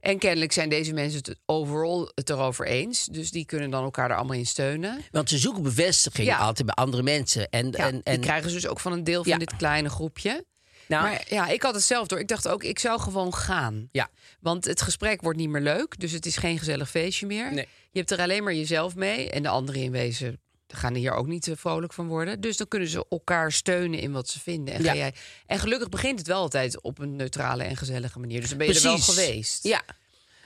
Speaker 3: En kennelijk zijn deze mensen het overal het erover eens. Dus die kunnen dan elkaar er allemaal in steunen.
Speaker 1: Want ze zoeken bevestiging
Speaker 3: Ja.
Speaker 1: altijd bij andere mensen. En,
Speaker 3: Ja,
Speaker 1: en,
Speaker 3: die
Speaker 1: en,
Speaker 3: krijgen ze dus ook van een deel van
Speaker 1: Ja.
Speaker 3: dit kleine groepje.
Speaker 1: nou,
Speaker 3: Maar ja, ik had het zelf door. Ik dacht ook, ik zou gewoon gaan.
Speaker 1: ja.
Speaker 3: Want het gesprek wordt niet meer leuk. Dus het is geen gezellig feestje meer.
Speaker 1: Nee.
Speaker 3: Je hebt er alleen maar jezelf mee. En de anderen in wezen gaan hier ook niet eh, vrolijk van worden. Dus dan kunnen ze elkaar steunen in wat ze vinden. En, ga
Speaker 1: Ja.
Speaker 3: jij... en gelukkig begint het wel altijd op een neutrale en gezellige manier. Dus dan ben je er wel geweest.
Speaker 1: Ja.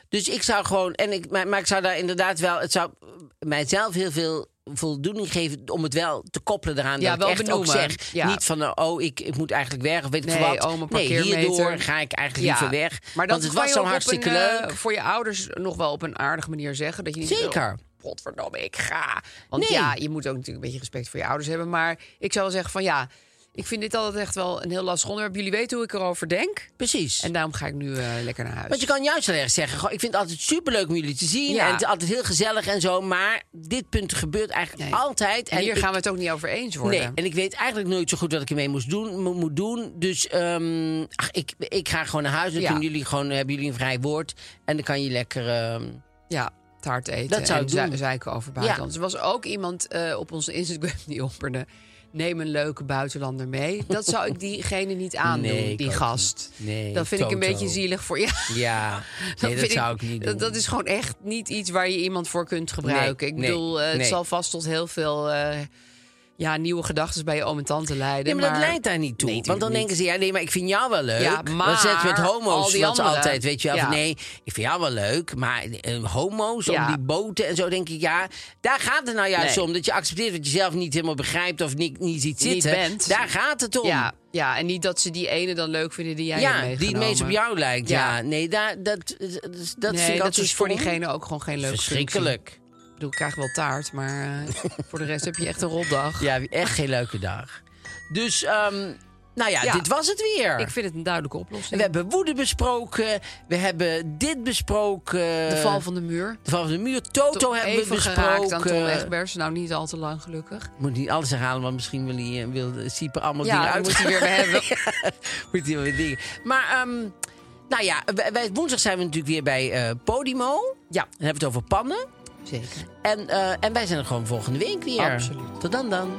Speaker 1: Dus ik zou gewoon, en ik, maar, maar ik zou daar inderdaad wel, het zou mijzelf heel veel voldoening geven om het wel te koppelen eraan.
Speaker 3: Ja,
Speaker 1: dat
Speaker 3: wel
Speaker 1: ik echt ook
Speaker 3: benoemen.
Speaker 1: zeg,
Speaker 3: Ja.
Speaker 1: niet van, oh, ik, ik moet eigenlijk weg, of weet ik
Speaker 3: Nee,
Speaker 1: veel wat.
Speaker 3: oh, mijn
Speaker 1: nee,
Speaker 3: parkeermeter.
Speaker 1: hierdoor ga ik eigenlijk liever weg.
Speaker 3: Maar dat
Speaker 1: want het
Speaker 3: kan
Speaker 1: was
Speaker 3: je
Speaker 1: zo
Speaker 3: ook op
Speaker 1: hartstikke
Speaker 3: een, eh,
Speaker 1: leuk.
Speaker 3: voor je ouders nog wel op een aardige manier zeggen. Dat je niet
Speaker 1: Zeker.
Speaker 3: Oh, Godverdomme, ik ga. Want
Speaker 1: Nee.
Speaker 3: ja, je moet ook natuurlijk een beetje respect voor je ouders hebben. Maar ik zou wel zeggen van ja, ik vind dit altijd echt wel een heel lastig onderwerp. Jullie weten hoe ik erover denk.
Speaker 1: Precies.
Speaker 3: En daarom ga ik nu eh, lekker naar huis.
Speaker 1: Want je kan juist heel erg zeggen, goh, ik vind het altijd superleuk om jullie te zien.
Speaker 3: Ja.
Speaker 1: En het is altijd heel gezellig en zo. Maar dit punt gebeurt eigenlijk
Speaker 3: Nee.
Speaker 1: altijd.
Speaker 3: en hier
Speaker 1: ik-
Speaker 3: gaan we het ook niet over eens worden.
Speaker 1: Nee, en ik weet eigenlijk nooit zo goed wat ik ermee moest doen, mo- moet doen. Dus ehm, ach, ik, ik ga gewoon naar huis en
Speaker 3: Ja.
Speaker 1: kunnen jullie gewoon, hebben jullie een vrij woord. En dan kan je lekker... ehm,
Speaker 3: Ja, taart eten.
Speaker 1: Dat zou
Speaker 3: en
Speaker 1: ik doen.
Speaker 3: zei- zeiken over buitenlanders. Er was ook iemand eh, op onze Instagram die opperde... neem een leuke buitenlander mee. Dat zou ik diegene niet aandoen,
Speaker 1: <laughs> Nee, ik
Speaker 3: die
Speaker 1: ook
Speaker 3: gast.
Speaker 1: niet. Nee,
Speaker 3: dat vind ik een
Speaker 1: Toto.
Speaker 3: beetje zielig voor <laughs> je.
Speaker 1: ja, nee, dat, zou ik niet doen.
Speaker 3: Dat, dat is gewoon echt niet iets waar je iemand voor kunt gebruiken.
Speaker 1: Nee,
Speaker 3: ik
Speaker 1: nee,
Speaker 3: bedoel, eh, het
Speaker 1: nee.
Speaker 3: zal vast tot heel veel... eh, ja, nieuwe gedachten bij je oom en tante leiden.
Speaker 1: Nee, maar, dat leidt daar niet toe.
Speaker 3: Nee,
Speaker 1: want dan
Speaker 3: tuurlijk
Speaker 1: denken ze, ja, nee, maar ik vind jou wel leuk.
Speaker 3: Ja,
Speaker 1: Want ze zetten met
Speaker 3: maar
Speaker 1: homo's,
Speaker 3: al die
Speaker 1: wat ze
Speaker 3: anderen.
Speaker 1: altijd, weet je wel. van,
Speaker 3: Ja.
Speaker 1: nee, ik vind jou wel leuk, maar eh, homo's
Speaker 3: Ja.
Speaker 1: om die boten en zo, denk ik, ja. Daar gaat het nou juist
Speaker 3: Nee.
Speaker 1: om. Dat je accepteert wat je zelf niet helemaal begrijpt of niet, niet ziet
Speaker 3: Niet
Speaker 1: zitten.
Speaker 3: bent.
Speaker 1: Daar gaat het om.
Speaker 3: Ja, ja, en niet dat ze die ene dan leuk vinden die jij hebt
Speaker 1: Ja, die
Speaker 3: meegenomen.
Speaker 1: het meest op jou lijkt. Ja,
Speaker 3: Ja.
Speaker 1: nee, daar, dat, dat, dat
Speaker 3: Nee,
Speaker 1: vind ik
Speaker 3: dat
Speaker 1: altijd
Speaker 3: is voor
Speaker 1: stom.
Speaker 3: diegene ook gewoon geen leuk
Speaker 1: Verschrikkelijk.
Speaker 3: Ik bedoel, ik krijg wel taart, maar eh, voor de rest heb je echt een rotdag.
Speaker 1: Ja, echt geen leuke dag. Dus, ehm, nou ja,
Speaker 3: Ja.
Speaker 1: dit was het weer.
Speaker 3: Ik vind het een duidelijke
Speaker 1: En
Speaker 3: oplossing.
Speaker 1: We hebben woede besproken. We hebben dit besproken.
Speaker 3: de val van de muur.
Speaker 1: de, val van de muur. Toto
Speaker 3: Toch
Speaker 1: eh, hebben we
Speaker 3: even geraakt aan Tom
Speaker 1: besproken.
Speaker 3: Egbers. Nou, niet al te lang, gelukkig.
Speaker 1: Ik moet niet alles herhalen, want misschien wil hij eh, wil Siepe allemaal
Speaker 3: Ja,
Speaker 1: dingen
Speaker 3: dan
Speaker 1: uit.
Speaker 3: moet hij weer weer hebben.
Speaker 1: Ja, <laughs> moet hij weer dingen. Maar, ehm, nou ja, wij, wij- woensdag zijn we natuurlijk weer bij eh, Podimo.
Speaker 3: Ja,
Speaker 1: Dan hebben we het over pannen.
Speaker 3: zeker.
Speaker 1: En, eh, en wij zijn er gewoon volgende week weer.
Speaker 3: Absoluut.
Speaker 1: Tot dan dan.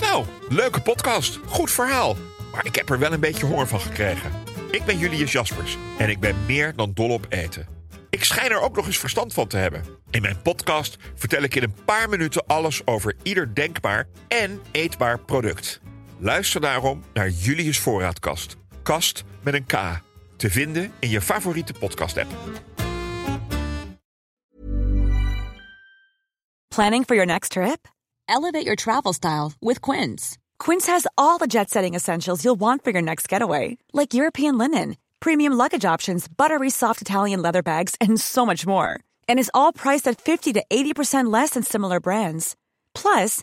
Speaker 4: Nou, leuke podcast. Goed verhaal. Maar ik heb er wel een beetje honger van gekregen. Ik ben Julius Jaspers en ik ben meer dan dol op eten. Ik schijn er ook nog eens verstand van te hebben. In mijn podcast vertel ik in een paar minuten alles over ieder denkbaar en eetbaar product. Luister daarom naar Julius Voorraadkast. Kast met een K. Te vinden in je favoriete podcast-app.
Speaker 5: Planning for your next trip? Elevate your travel style with Quince. Quince has all the jet setting essentials you'll want for your next getaway, like European linen, premium luggage options, buttery soft Italian leather bags, and so much more. And is all priced at 50 to 80% less than similar brands. Plus,